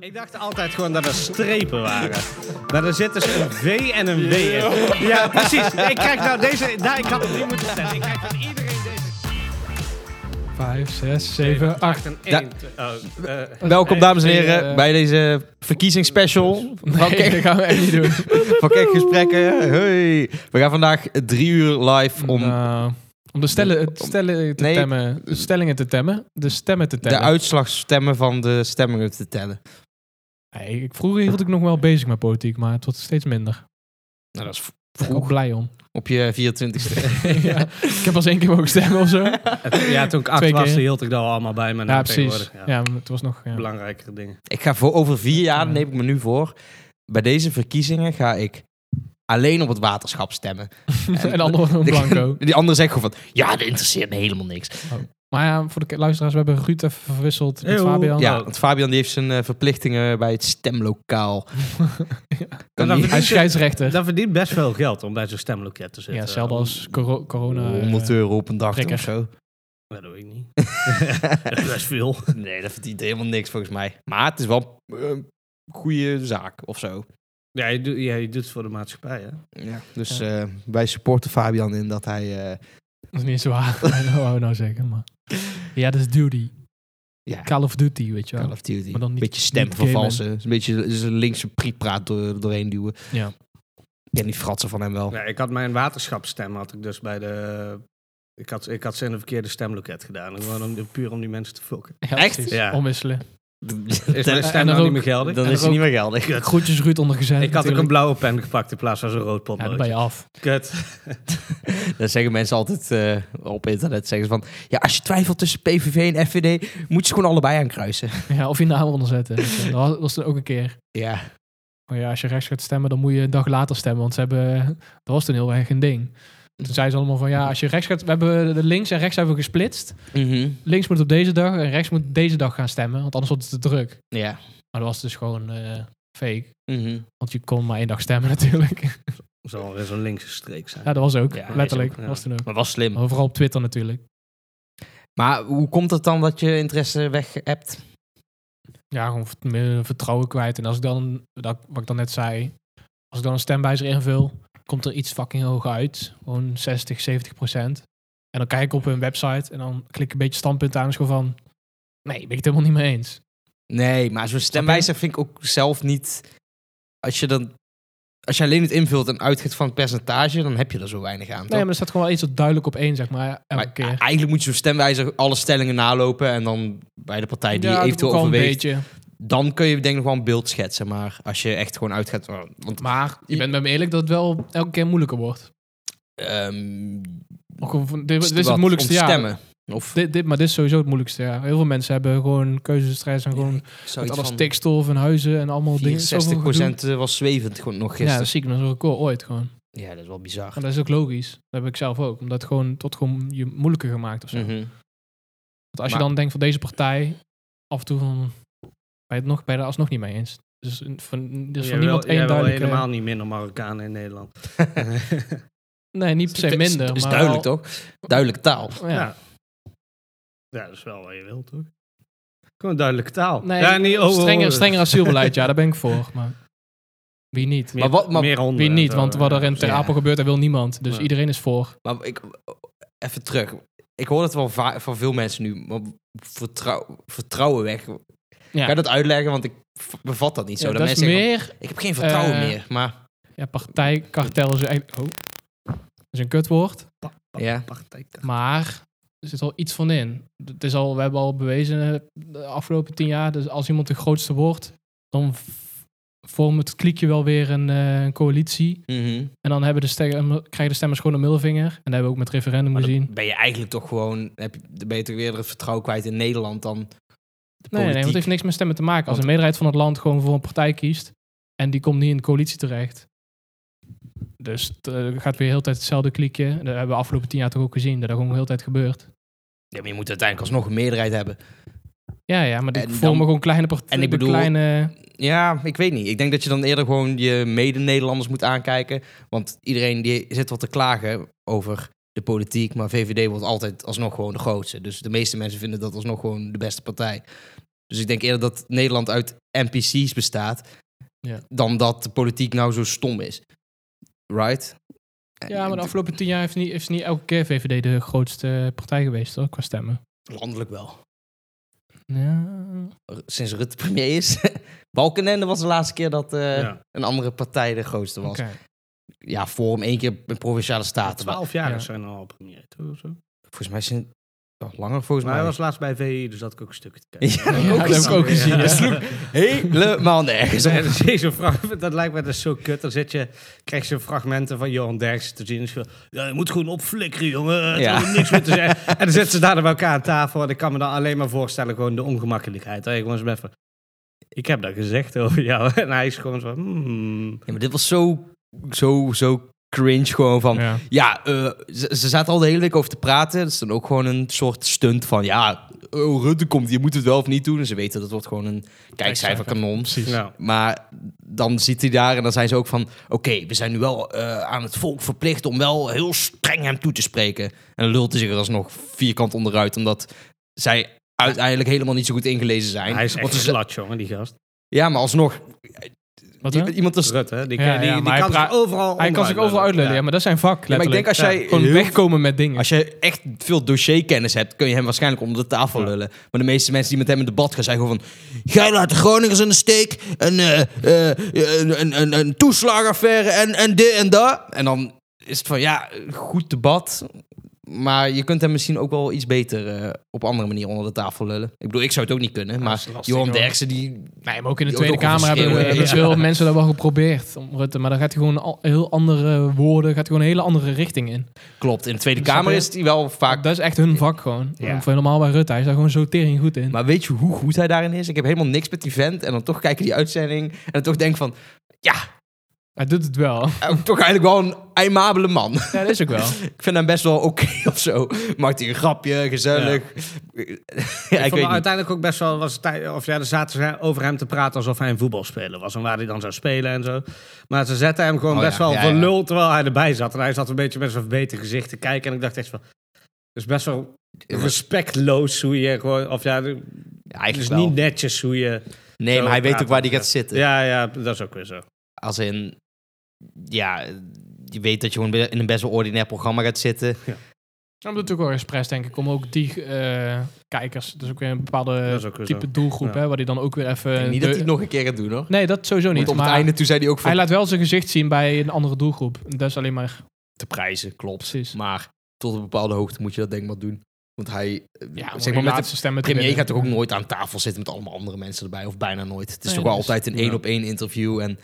Ik dacht altijd gewoon dat er strepen waren. Maar er zit dus een V en een W in. Ja, precies. Ik krijg nou deze... Nou, ik had het niet moeten stellen. Ik krijg van iedereen deze... 5, 6, 7, 8. Een Eh, Ja. 1. Welkom, dames en Nee, heren, eh, bij deze verkiezingsspecial van, Nee, dat Kek, gaan we echt niet doen. van Kekgesprekken. Hey. We gaan vandaag drie uur live om Nou, om de, stellen, het stellen te Nee. temmen, de stellingen te temmen. De stemmen te de temmen. uitslagsstemmen van de stemmingen te tellen. Nee, ik, vroeger hield ik nog wel bezig met politiek, maar het wordt steeds minder. Nou, dat is v- Daar ben ik ook vroeg blij om. op je 24ste. ja. Ik heb pas één keer mogen stemmen of zo. eh, Ja, toen ik acht Twee was, keer. hield ik dat allemaal bij me. ja, Nou, precies. Ja. tegenwoordig, Ja. maar het was nog... Ja. Belangrijkere dingen. ik ga voor over vier jaar, Ja. neem ik me nu voor, bij deze verkiezingen ga ik alleen op het waterschap stemmen. en ander een blanco. Die anderen zeggen gewoon van, ja, dat interesseert me helemaal niks. Maar ja, voor de ke- luisteraars, we hebben Ruud even verwisseld met Eeuw. Fabian. Ja, want Fabian die heeft zijn eh, verplichtingen bij het stemlokaal. Kan dan niet- Hij is scheidsrechter. Dat verdient best veel geld om bij zo'n stemloket te ja, zitten. Oh, hetzelfde als coro- corona. eh, 100 euro op een dag prikker. of zo. Dat doe ik niet. Dat is best veel. nee, dat verdient helemaal niks volgens mij. Maar het is wel eh, een goede zaak of zo. Ja, je, doet- ja, je doet het voor de maatschappij, hè? Ja, dus eh, wij supporten Fabian in dat hij... eh, Dat is niet zo waar. dat wou ik nou zeggen, maar... Ja, dat is duty. ja, Call of Duty, weet je wel. Call of Duty. Maar dan Een niet- beetje niet stemvervalsen. Een beetje zijn linkse prietpraat door, doorheen duwen. Ja. Ik ken die fratsen van hem wel. Oh. Ja, ik had mijn waterschapstem had ik dus bij de... Ik had, ik had ze in de verkeerde stemloket gedaan. Gewoon om, de- puur om die mensen te fokken. Ja, Echt? precies. Ja. Omwisselen. Is mijn eh, en stem dan nou niet ook- meer geldig? Dan is hij ook- niet meer geldig. Kut. Groetjes Ruud Ik ondergezet. had ook een natuurlijk. blauwe pen gepakt in plaats van zo'n rood Ja, dan ben potloodje. je af. Kut. Dan zeggen mensen altijd eh, op internet zeggen ze van... Ja, als je twijfelt tussen PVV en FVD, moet je ze gewoon allebei aankruisen. Ja, of je naam onderzetten. eh, Dat was- was er ook een keer. Ja. Maar ja, als je rechts gaat stemmen, dan moet je een dag later stemmen. Want ze hebben... Dat was toen heel erg een ding. Toen zeiden ze allemaal van, ja, als je rechts gaat... We hebben de links en rechts hebben we gesplitst. Mhm. Links moet op deze dag en rechts moet deze dag gaan stemmen. Want anders wordt het te druk. Ja. Maar dat was dus gewoon eh, fake. Mhm. Want je kon maar één dag stemmen natuurlijk. Zal wel weer zo'n linkse streek zijn. ja, dat was ook. Ja, is letterlijk. ook, ja. was toen ook. Maar was slim. Maar vooral op Twitter natuurlijk. Maar hoe komt het dan dat je interesse weg hebt? ja, gewoon vert- meer vertrouwen kwijt. En als ik dan, dat, wat ik dan net zei, als ik dan een stemwijzer invul, komt er iets fucking hoog uit. Gewoon 60, 70 procent. En dan kijk ik op hun website en dan klik ik een beetje standpunt aan. En is gewoon van, nee, ben ik het helemaal niet mee eens. Nee, maar zo'n stemwijzer vind ik ook zelf niet. Als je dan. Als je alleen het invult en uitgaat van het percentage, dan heb je er zo weinig aan. Nee, toch? maar er staat gewoon wel iets wat duidelijk op één, zeg maar, elke Maar e- keer. Eigenlijk moet je zo'n stemwijzer alle stellingen nalopen en dan bij de partij die Ja, je dat eventueel ook wel een overweegt. beetje. Dan kun je denk ik nog wel een beeld schetsen. Maar als je echt gewoon uitgaat. oh, Want Maar je bent met me eerlijk dat het wel elke keer moeilijker wordt. ehm, Ook al van- dit, is dit is wat het moeilijkste om te jaar. stemmen. Of Dit, dit, maar dit is sowieso het moeilijkste jaar. Heel veel mensen hebben gewoon keuzestress en gewoon zoiets met alle van stikstof en huizen en allemaal dingen. Zoveel 64% gedoe. was zwevend gewoon nog Ja, dus- dat gisteren. zie ik nog zo'n record ooit gewoon. Ja, dat is wel bizar. En dat is ook logisch. Dat heb ik zelf ook. Omdat het gewoon tot gewoon je moeilijker gemaakt of zo. Mhm. Want als je Maar- dan denkt van deze partij, af en toe van, ben je het nog, ben je er alsnog niet mee eens. Dus een- van, dus Jij van niemand wil- jij één wil duidelijke... helemaal niet minder Marokkanen in Nederland. Nee, niet per se Is- minder. Is, maar duidelijk wel- toch? Duidelijke taal. Ja. Ja. ja, dat is wel wat je wilt, toch? Gewoon duidelijke taal. Nee, ja, niet, oh, oh, strenger, oh. strenger asielbeleid, ja, daar ben ik voor. Maar wie niet? Meer, Maar wat- maar- meer honden Wie en niet? zo, Want wat ja, er in Ter ja. Apel gebeurt, daar wil niemand. Dus Ja. iedereen is voor. Maar ik, even terug. Ik hoor het wel va- van veel mensen nu. Maar vertrouw, vertrouwen weg. Ja, Kan je dat uitleggen? Want ik v- bevat dat niet zo. Ja, dat dat is mensen zeggen, meer... van, ik heb geen vertrouwen eh, meer. Maar Ja, partijkartel is eigenlijk... Oh, is een kutwoord. ja. partijkaart. Maar er zit al iets van in. Het is al, we hebben al bewezen eh, de afgelopen tien jaar, dus als iemand de grootste wordt, dan v- vormt het kliekje wel weer een, eh, een coalitie. Mhm. En dan hebben de stem, krijgen de stemmers gewoon een middelvinger. En dat hebben we ook met referendum Maar dan gezien. ben je eigenlijk toch gewoon... Heb je, dan ben je toch weer het vertrouwen kwijt in Nederland dan... Nee, nee, nee, want politiek. het heeft niks met stemmen te maken. Als Want- een meerderheid van het land gewoon voor een partij kiest en die komt niet in de coalitie terecht. Dus het eh, gaat weer heel tijd hetzelfde kliekje. Dat hebben we de afgelopen tien jaar toch ook gezien, dat dat gewoon heel tijd gebeurt. Ja, maar je moet uiteindelijk alsnog een meerderheid hebben. Ja, ja, maar die En dan- vormen gewoon kleine partijen. en ik bedoel- kleine, Ja, ik weet niet. Ik denk dat je dan eerder gewoon je mede-Nederlanders moet aankijken. Want iedereen die zit wat te klagen over de politiek. Maar VVD wordt altijd alsnog gewoon de grootste. Dus de meeste mensen vinden dat alsnog gewoon de beste partij. Dus ik denk eerder dat Nederland uit NPC's bestaat. Ja. Dan dat de politiek nou zo stom is. Right? Ja, maar de afgelopen tien jaar heeft niet, is niet elke keer VVD de grootste eh, partij geweest, hoor, qua stemmen. Landelijk wel. Ja. R- Sinds Rutte premier is. Balkenende was de laatste keer dat eh, Ja. een andere partij de grootste was. Oké. Ja, Forum één keer een Provinciale Staten. Maar Twaalf jaar Ja. zijn al premier, toch? of zo? Volgens mij zijn... oh, langer volgens Maar mij. hij was laatst bij VI, dus dat ik ook een stukje te kijken. Ja, dat heb ik Ja, ook dat heb ik gezien. ook gezien. Ja. ja. Helemaal nergens. Nee, dat is niet zo'n frag- dat lijkt me dus zo kut. Dan zit je, krijg je fragmenten van Johan Derksen te zien. En ze zeggen, ja, je moet gewoon opflikkeren, jongen. Er Ja. is niks meer te zeggen. En dan zitten ze daar bij elkaar aan tafel. En ik kan me dan alleen maar voorstellen, gewoon de ongemakkelijkheid. Hey, gewoon eens even, ik heb dat gezegd over jou. En hij is gewoon zo van, hmm. Ja, maar dit was zo, zo, zo cringe gewoon van... Ja, Ja. eh, ze, ze zaten al de hele week over te praten. Dat is dan ook gewoon een soort stunt van... Ja, oh, Rutte komt, je moet het wel of niet doen. En ze weten dat wordt gewoon een kijkcijferkanon. Precies. Nou, Maar dan zit hij daar en dan zijn ze ook van... Oké, we zijn nu wel eh, aan het volk verplicht om wel heel streng hem toe te spreken. En dan lult hij zich er alsnog vierkant onderuit. Omdat zij uiteindelijk helemaal niet zo goed ingelezen zijn. hij is echt Want een ze- slat, jongen, die gast. Ja, maar alsnog... Wat i- dan? Iemand als Rutte, hè, die, Ja, die, die, ja, maar hij kan zich praat- overal Hij kan zich onderuit overal uitleggen, ja. Ja. maar dat is zijn vak. Ja, maar ik denk letterlijk. als jij Gewoon heel wegkomen met dingen. Als je echt veel dossierkennis hebt, kun je hem waarschijnlijk onder de tafel Ja. lullen. Maar de meeste mensen die met hem in debat gaan, zijn gewoon van... Jij laat de Groningers in de steek. Een, eh, eh, een, een, een, een toeslagaffaire en, en dit en dat. En dan is het van, ja, goed debat. Maar je kunt hem misschien ook wel iets beter eh, op andere manier onder de tafel lullen. Ik bedoel, ik zou het ook niet kunnen. dat Maar is lastig, Johan hoor. Derksen, die... Nee, maar ook in de Die Tweede ook nog Kamer hebben, verschillen. hebben veel mensen dat wel geprobeerd. Om Rutte, maar dan gaat hij gewoon al, heel andere woorden, gaat hij gewoon een hele andere richting in. Klopt, in de Tweede Snap Kamer je? is die wel vaak... Dat is echt hun vak gewoon. Ja. En voor Helemaal bij Rutte, hij is daar gewoon zo tering goed in. Maar weet je hoe goed hij daarin is? Ik heb helemaal niks met die vent. En dan toch kijken die uitzending. En dan toch denk van... Ja, Hij doet het wel. Eh, toch eigenlijk wel een aimabele man. Ja, dat is ook wel. ik vind hem best wel oké of zo. Maakt hij een grapje, gezellig. Ik Ja, ik vond weet niet. uiteindelijk ook best wel, was het, tij- of ja, er zaten ze over hem te praten alsof hij een voetbalspeler was en waar hij dan zou spelen en zo. Maar ze zetten hem gewoon Oh ja, best wel ja, voor ja. lul terwijl hij erbij zat. En hij zat een beetje met zijn verbeten gezicht te kijken en ik dacht echt van, het is best wel respectloos hoe je gewoon, of ja, het Ja, is eigenlijk wel. dus niet netjes hoe je, Nee, maar hij weet ook waar hij gaat zitten. ja, ja, dat is ook weer zo. Als in, ja, je weet dat je gewoon in een best wel ordinair programma gaat zitten. Ja, maar dat is ook wel expres, denk ik, om ook die eh, kijkers, dus ook weer een bepaalde Dat is ook weer type zo. doelgroep, Ja. hè, waar die dan ook weer even... Ik denk niet Eh, de- dat hij het nog een keer gaat doen, hoor. Nee, dat sowieso niet. Want op maar het einde toen zei hij ook van hij laat wel zijn gezicht zien bij een andere doelgroep. Dat is alleen maar... te prijzen, klopt. Precies. Maar tot een bepaalde hoogte moet je dat denk ik maar doen. Want hij, eh, Ja, om zeg die maar met de laatste stemmen te premier winnen. gaat toch ook nooit aan tafel zitten met allemaal andere mensen erbij, of bijna nooit. Het is Nee, toch wel dus- altijd een ja. één op één interview. En,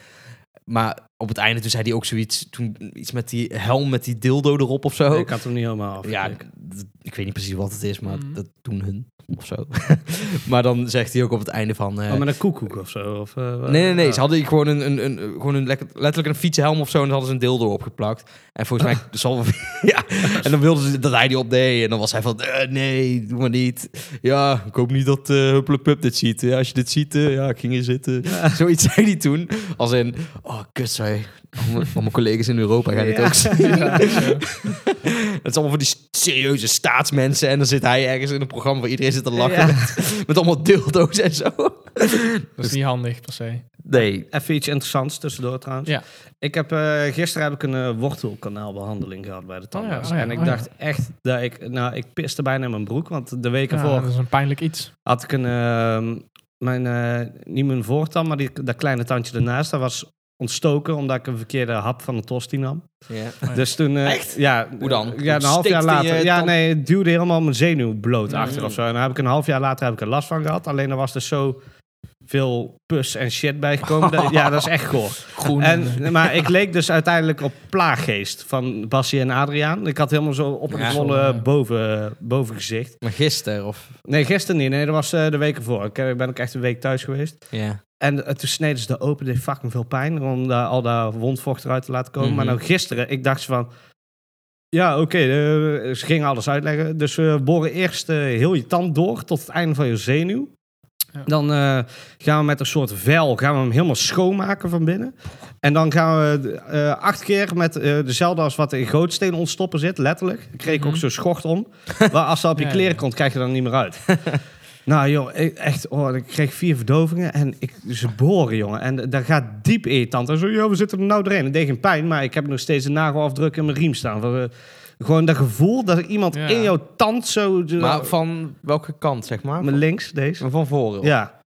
maar op het einde toen zei hij ook zoiets, toen iets met die helm met die dildo erop of zo. Ik had hem niet helemaal oh, af. ja, d- ik weet niet precies wat het is, maar Mhm. dat doen hun of zo. maar dan zegt hij ook op het einde van. eh, Oh, met een koekoek of zo. Of, eh, wat- Nee, nee, nee. Ze Oh. hadden gewoon een, een, een, gewoon een lekker- letterlijk een fietshelm of zo. En daar hadden ze een dildo opgeplakt. En volgens mij zal ja. En dan wilden ze dat hij die opdeed. En dan was hij van, eh, nee, doe maar niet. Ja, ik hoop niet dat eh Hupplepup dit ziet. Ja, als je dit ziet, eh, ja, ik ging hier zitten. Zoiets zei hij toen. Als in, oh, kut, zei al mijn- al mijn collega's in Europa gaan dit ook zien. Het is allemaal van die serieuze staatsmensen. En dan zit hij ergens in een programma waar iedereen zit te Ja. lachen. Met, met allemaal dildo's en zo. Dat is niet handig, per se. Nee. Even iets interessants tussendoor trouwens. Ja. Ik heb, eh, gisteren heb ik een eh, wortelkanaalbehandeling gehad bij de tandarts. oh ja, en ik oh ja. dacht echt dat ik... Nou, ik piste bijna in mijn broek. Want de week Ja, ervoor dat is een pijnlijk iets. had ik een... ehm, mijn, eh, niet mijn voortand, maar die, dat kleine tandje ernaast. Dat was ontstoken omdat ik een verkeerde hap van de tosti nam. Ja. Oh Ja. Dus toen... eh, Echt? Ja, Hoe dan? Ja, een half Steekt jaar in je later. Ja, tand- nee, het duwde helemaal mijn zenuw bloot Mm. achter of zo. En daar heb ik een half jaar later heb ik er last van gehad. Alleen er was dus zo veel pus en shit bijgekomen. dat- ja, dat is echt goor. Groen. En, maar ik leek dus uiteindelijk op Plaaggeest van Bassie en Adriaan. Ik had helemaal zo opgezwollen Ja. boven, bovengezicht. Maar gisteren of... Nee, gisteren niet. Nee, dat was eh, de week ervoor. Ik eh, ben ook echt een week thuis geweest. Ja. En eh, toen sneden ze de open. deed fucking veel pijn om daar al dat wondvocht eruit te laten komen. Mhm. Maar nou gisteren, ik dacht ze van... Ja, oké. eh, ze gingen alles uitleggen. Dus we boren eerst eh, heel je tand door tot het einde van je zenuw. Ja. Dan eh, gaan we met een soort vel gaan we hem helemaal schoonmaken van binnen. En dan gaan we eh, acht keer met eh, dezelfde als wat in gootsteen ontstoppen zit, letterlijk. Daar kreeg ik ook Mhm. zo'n schort om. Maar als dat op je Ja, kleren ja. komt, krijg je er dan niet meer uit. Nou joh, ik- echt, oh, ik kreeg vier verdovingen en ik, ze boren, jongen. En dat gaat diep in je tand. En zo, joh, we zitten er nou doorheen. Het deed geen pijn, maar ik heb nog steeds een nagelafdruk in mijn riem staan. Van, eh, gewoon dat gevoel dat er iemand Ja. in jouw tand zo... Maar van welke kant, zeg maar? Mijn Van, links, deze. van voren. Ja,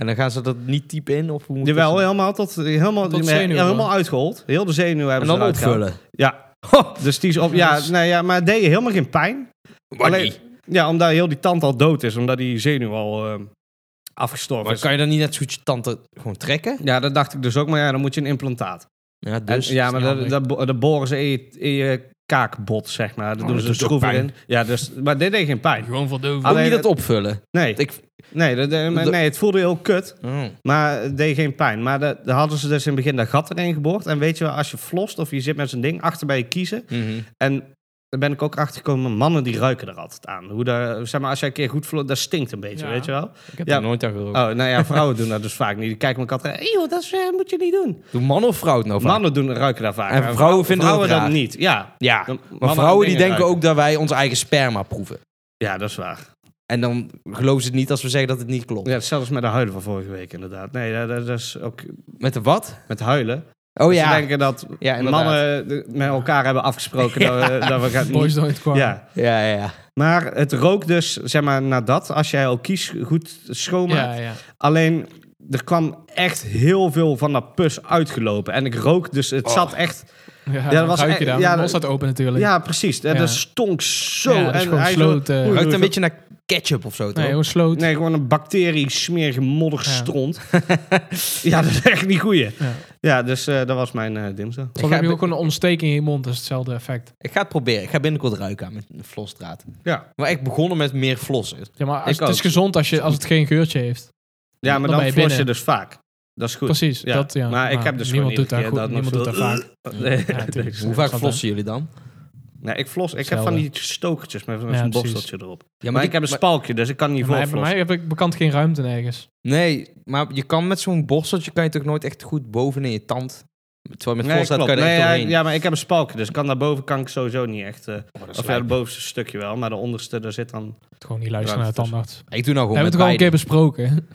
En dan gaan ze dat niet typen in? Of hoe moet jawel, dat- helemaal tot, eh, helemaal, Tot zenuwen. helemaal uitgehold. Heel de zenuw En hebben dan ze eruit gehaald. opvullen. Ja, dus die is op... Ja, Dus- nee, ja maar het deed je helemaal geen pijn. Alleen- Alleen- Ja, omdat heel die tand al dood is. Omdat die zenuw al ehm, afgestorven Maar is. kan je dan niet net zo'n tante gewoon trekken? Ja, dat dacht ik dus ook. Maar ja, dan moet je een implantaat. Ja, En- dus. ja, maar is niet dat, dat, bo- dat boren ze in je, in je kaakbot, zeg maar. Dat Oh, doen dat ze een doet ook schroef pijn. in. Ja, dus, maar dit deed geen pijn. Gewoon verdoven. Alleen- Alleen niet dat opvullen. Nee, Ik, nee, dat, eh, maar- dat- nee, het voelde heel kut, oh. maar het deed geen pijn. Maar dat, daar hadden ze dus in het begin dat gat erin geboord. En weet je wel, als je flost of je zit met zo'n ding achter bij je kiezen. Mhm. En daar ben ik ook achter gekomen, mannen die ruiken er altijd aan. Hoe daar, zeg maar, als jij een keer goed flost, dat stinkt een beetje, Ja. weet je wel. Ik heb Ja. er nooit aan gerookt. Oh, nou ja, vrouwen doen dat dus vaak niet. Die kijken elkaar aan. "Hey, joh, dat is, eh, moet je niet doen. Doe man of vrouw het nou vaak? Mannen doen, ruiken daar vaak En aan. vrouwen vinden dat vrouwen raar. dan niet. Ja, Ja, Dan- maar mannen vrouwen die dingen denken ruiken. ook dat wij ons eigen sperma proeven. Ja, dat is waar. En dan geloven ze het niet als we zeggen dat het niet klopt. Ja, hetzelfde als met de huilen van vorige week, inderdaad. Nee, dat, dat- dat is ook Met de wat? met huilen. Oh Dus Ze ja. denken dat Ja, inderdaad. mannen de- met elkaar hebben afgesproken dat, we, dat we gaan... Boys don't cry. Ja, Ja, ja, ja. maar het rookt dus, zeg maar, nadat, als jij al kies goed schoonmaakt. ja, ja. Alleen, er kwam echt heel veel van dat pus uitgelopen. En ik rook, dus het Oh. zat echt... Ja, dat dat was was ruik je echt- daar. ja, Ja, dat- mond staat open natuurlijk. Ja, precies. En Ja. Dat stonk zo. Ja, dat is en gewoon hij zo- sloot, eh, Oei, oei, Ruikt een oei. beetje naar ketchup of zo, toch? Nee, een sloot. Nee, gewoon een bacterie, smerige modderstront. Ja. dat is echt niet goeie. Ja. Ja, dus eh, dat was mijn eh dinsdag. Of heb je ook een ontsteking in je mond, dat is hetzelfde effect. Ik ga het proberen. Ik ga binnenkort ruiken aan met een flosdraad. Ja, Maar echt begonnen met meer flossen. Ja, maar als, Ik het is ook. gezond als, je, als het geen geurtje heeft. ja maar Dan dan, ben je flos je binnen. dus vaak. Dat is goed. Precies. Ja. Dat, ja. Maar ik heb dus niemand gewoon doet dat iedere keer goed. niemand doet dat nog dat vaak. Oh, Nee, Ja, tuurlijk. nee, Hoe vaak Snap flossen jullie dan? Ja, nee, ik flos. Ik heb Hetzelfde. van die stokertjes met met Ja, zo'n precies. borsteltje erop. maar, Maar die- ik heb een spalkje, dus ik kan niet Ja, voor maar bij flossen. mij heb ik bekend geen ruimte nergens. Nee, maar je kan met zo'n borsteltje kan je toch nooit echt goed boven in je tand. Terwijl met Nee, flosdraad klopt. kan je er Nee, echt ja, doorheen. ja, maar ik heb een spalkje, dus ik kan daarboven kan ik sowieso niet echt... eh, Oh, dat is of ja, lijp. het bovenste stukje wel, maar de onderste, daar zit dan... Gewoon niet luisteren Ja, naar de dat is- tandarts. Ik doe nou We hebben gewoon met het gewoon een keer beide. besproken.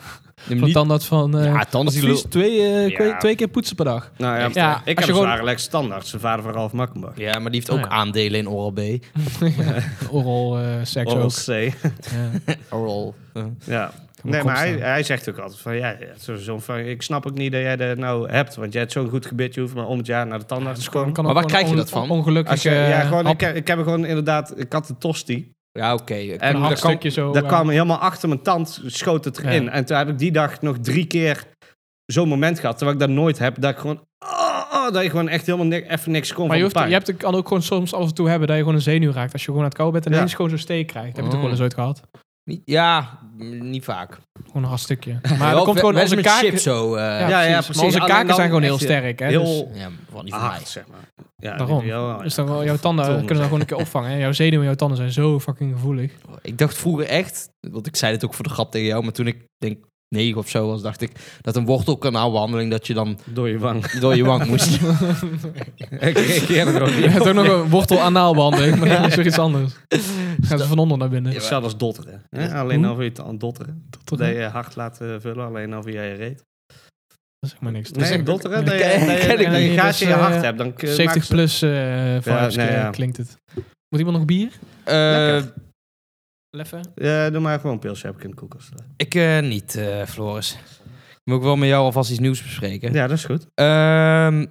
Neem Van niet- tandarts van... eh, Ja, tanden die advies lul- twee, eh, Ja. kwe- twee keer poetsen per dag. Nou ja, Echt, ja. ik heb Als je een gewoon- zware lek standaard. Zijn vader van Ralf Makkenbach. Ja, maar die heeft Oh, ook ja. aandelen in Oral B. Oral eh, seks Oral ook. C. Ja. Dus Oral. eh. Ja. mijn Nee, kop maar hij, staan. hij zegt ook altijd van, ja, ja, zo, zo van, ik snap ook niet dat jij dat nou hebt. Want jij hebt zo'n goed gebit, je hoeft maar om het jaar naar de tandarts te komen. Kan Maar ook waar gewoon krijg je on- dat van? Ongelukkig. Als je, eh, ja, gewoon, hap- ik, heb- ik heb gewoon inderdaad, ik had een tosti. Ja, oké. En een dat kwam, hapstukje zo. dat eh, kwam helemaal achter mijn tand, schoot het Ja. erin. En toen heb ik die dag nog drie keer zo'n moment gehad, terwijl ik dat nooit heb. Dat ik gewoon, oh, oh, dat ik gewoon echt helemaal ni- even niks kon Maar je, van de hoeft, pijn. je hebt, het- kan ook gewoon soms af en toe hebben dat je gewoon een zenuw raakt. Als je gewoon aan het kou bent en Ja. ineens gewoon zo'n steek krijgt. Heb je het ook Oh. wel eens ooit gehad? Niet- Ja, m, niet vaak. Gewoon een hard stukje. Maar Wel, dat komt gewoon mensen onze met kaken... chips zo. eh, Ja, ja, precies. precies. Maar onze Alleen kaken dan zijn gewoon heel echt je- sterk. Hè? heel Dus- ja, wat niet van mij. hard, zeg maar. Ja, Daarom. die- ja, ja. Dus dan wel- jouw tanden Verdomme. kunnen dat gewoon een keer opvangen. Hè? Jouw zenuwen en jouw tanden zijn zo fucking gevoelig. Ik dacht vroeger echt, want ik zei dit ook voor de grap tegen jou, maar toen ik denk negen of zo was, dacht ik dat een wortelkanaalbehandeling dat je dan door je wang. door je wang moest. ik reageer er ook Je niet. hebt ook nog een wortel-anaalbehandeling, maar dat is weer iets anders. Gaan ze van onder naar binnen. Ja. Zelfs dotteren. Hè? Alleen Hoe? al via je tand dotteren. Tot Dat nee, je hart laat eh, vullen, alleen al via je reet. dat zeg maar niks. Dus- Nee, Dat is- dotteren, Ja. dat je, dat je- Ken Dus ik dat je niet, gaatje in je dus, eh, hart hebt. Dan k- maken 70 ze- plus eh vibes, nee, eh, ja. klinkt het. Moet iemand nog bier? Eh Leffen? Eh, doe maar gewoon een pilsje, heb ik in de koelkast. staan. ik eh, niet, eh, Floris. Ik moet ook wel met jou alvast iets nieuws bespreken. Ja, dat is goed. Ehm,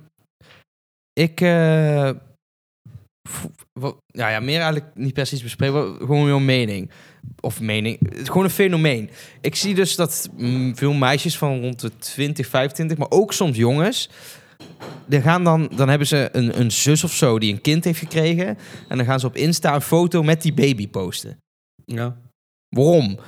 ik. eh, v- wa- nou ja, meer eigenlijk niet per se iets bespreken. maar Gewoon jouw mening. Of mening. Het is Gewoon een fenomeen. Ik zie dus dat mm, veel meisjes van rond de 20, 25, maar ook soms jongens. Die gaan dan, dan hebben ze een, een zus of zo die een kind heeft gekregen. En dan gaan ze op Insta een foto met die baby posten. Ja. Waarom?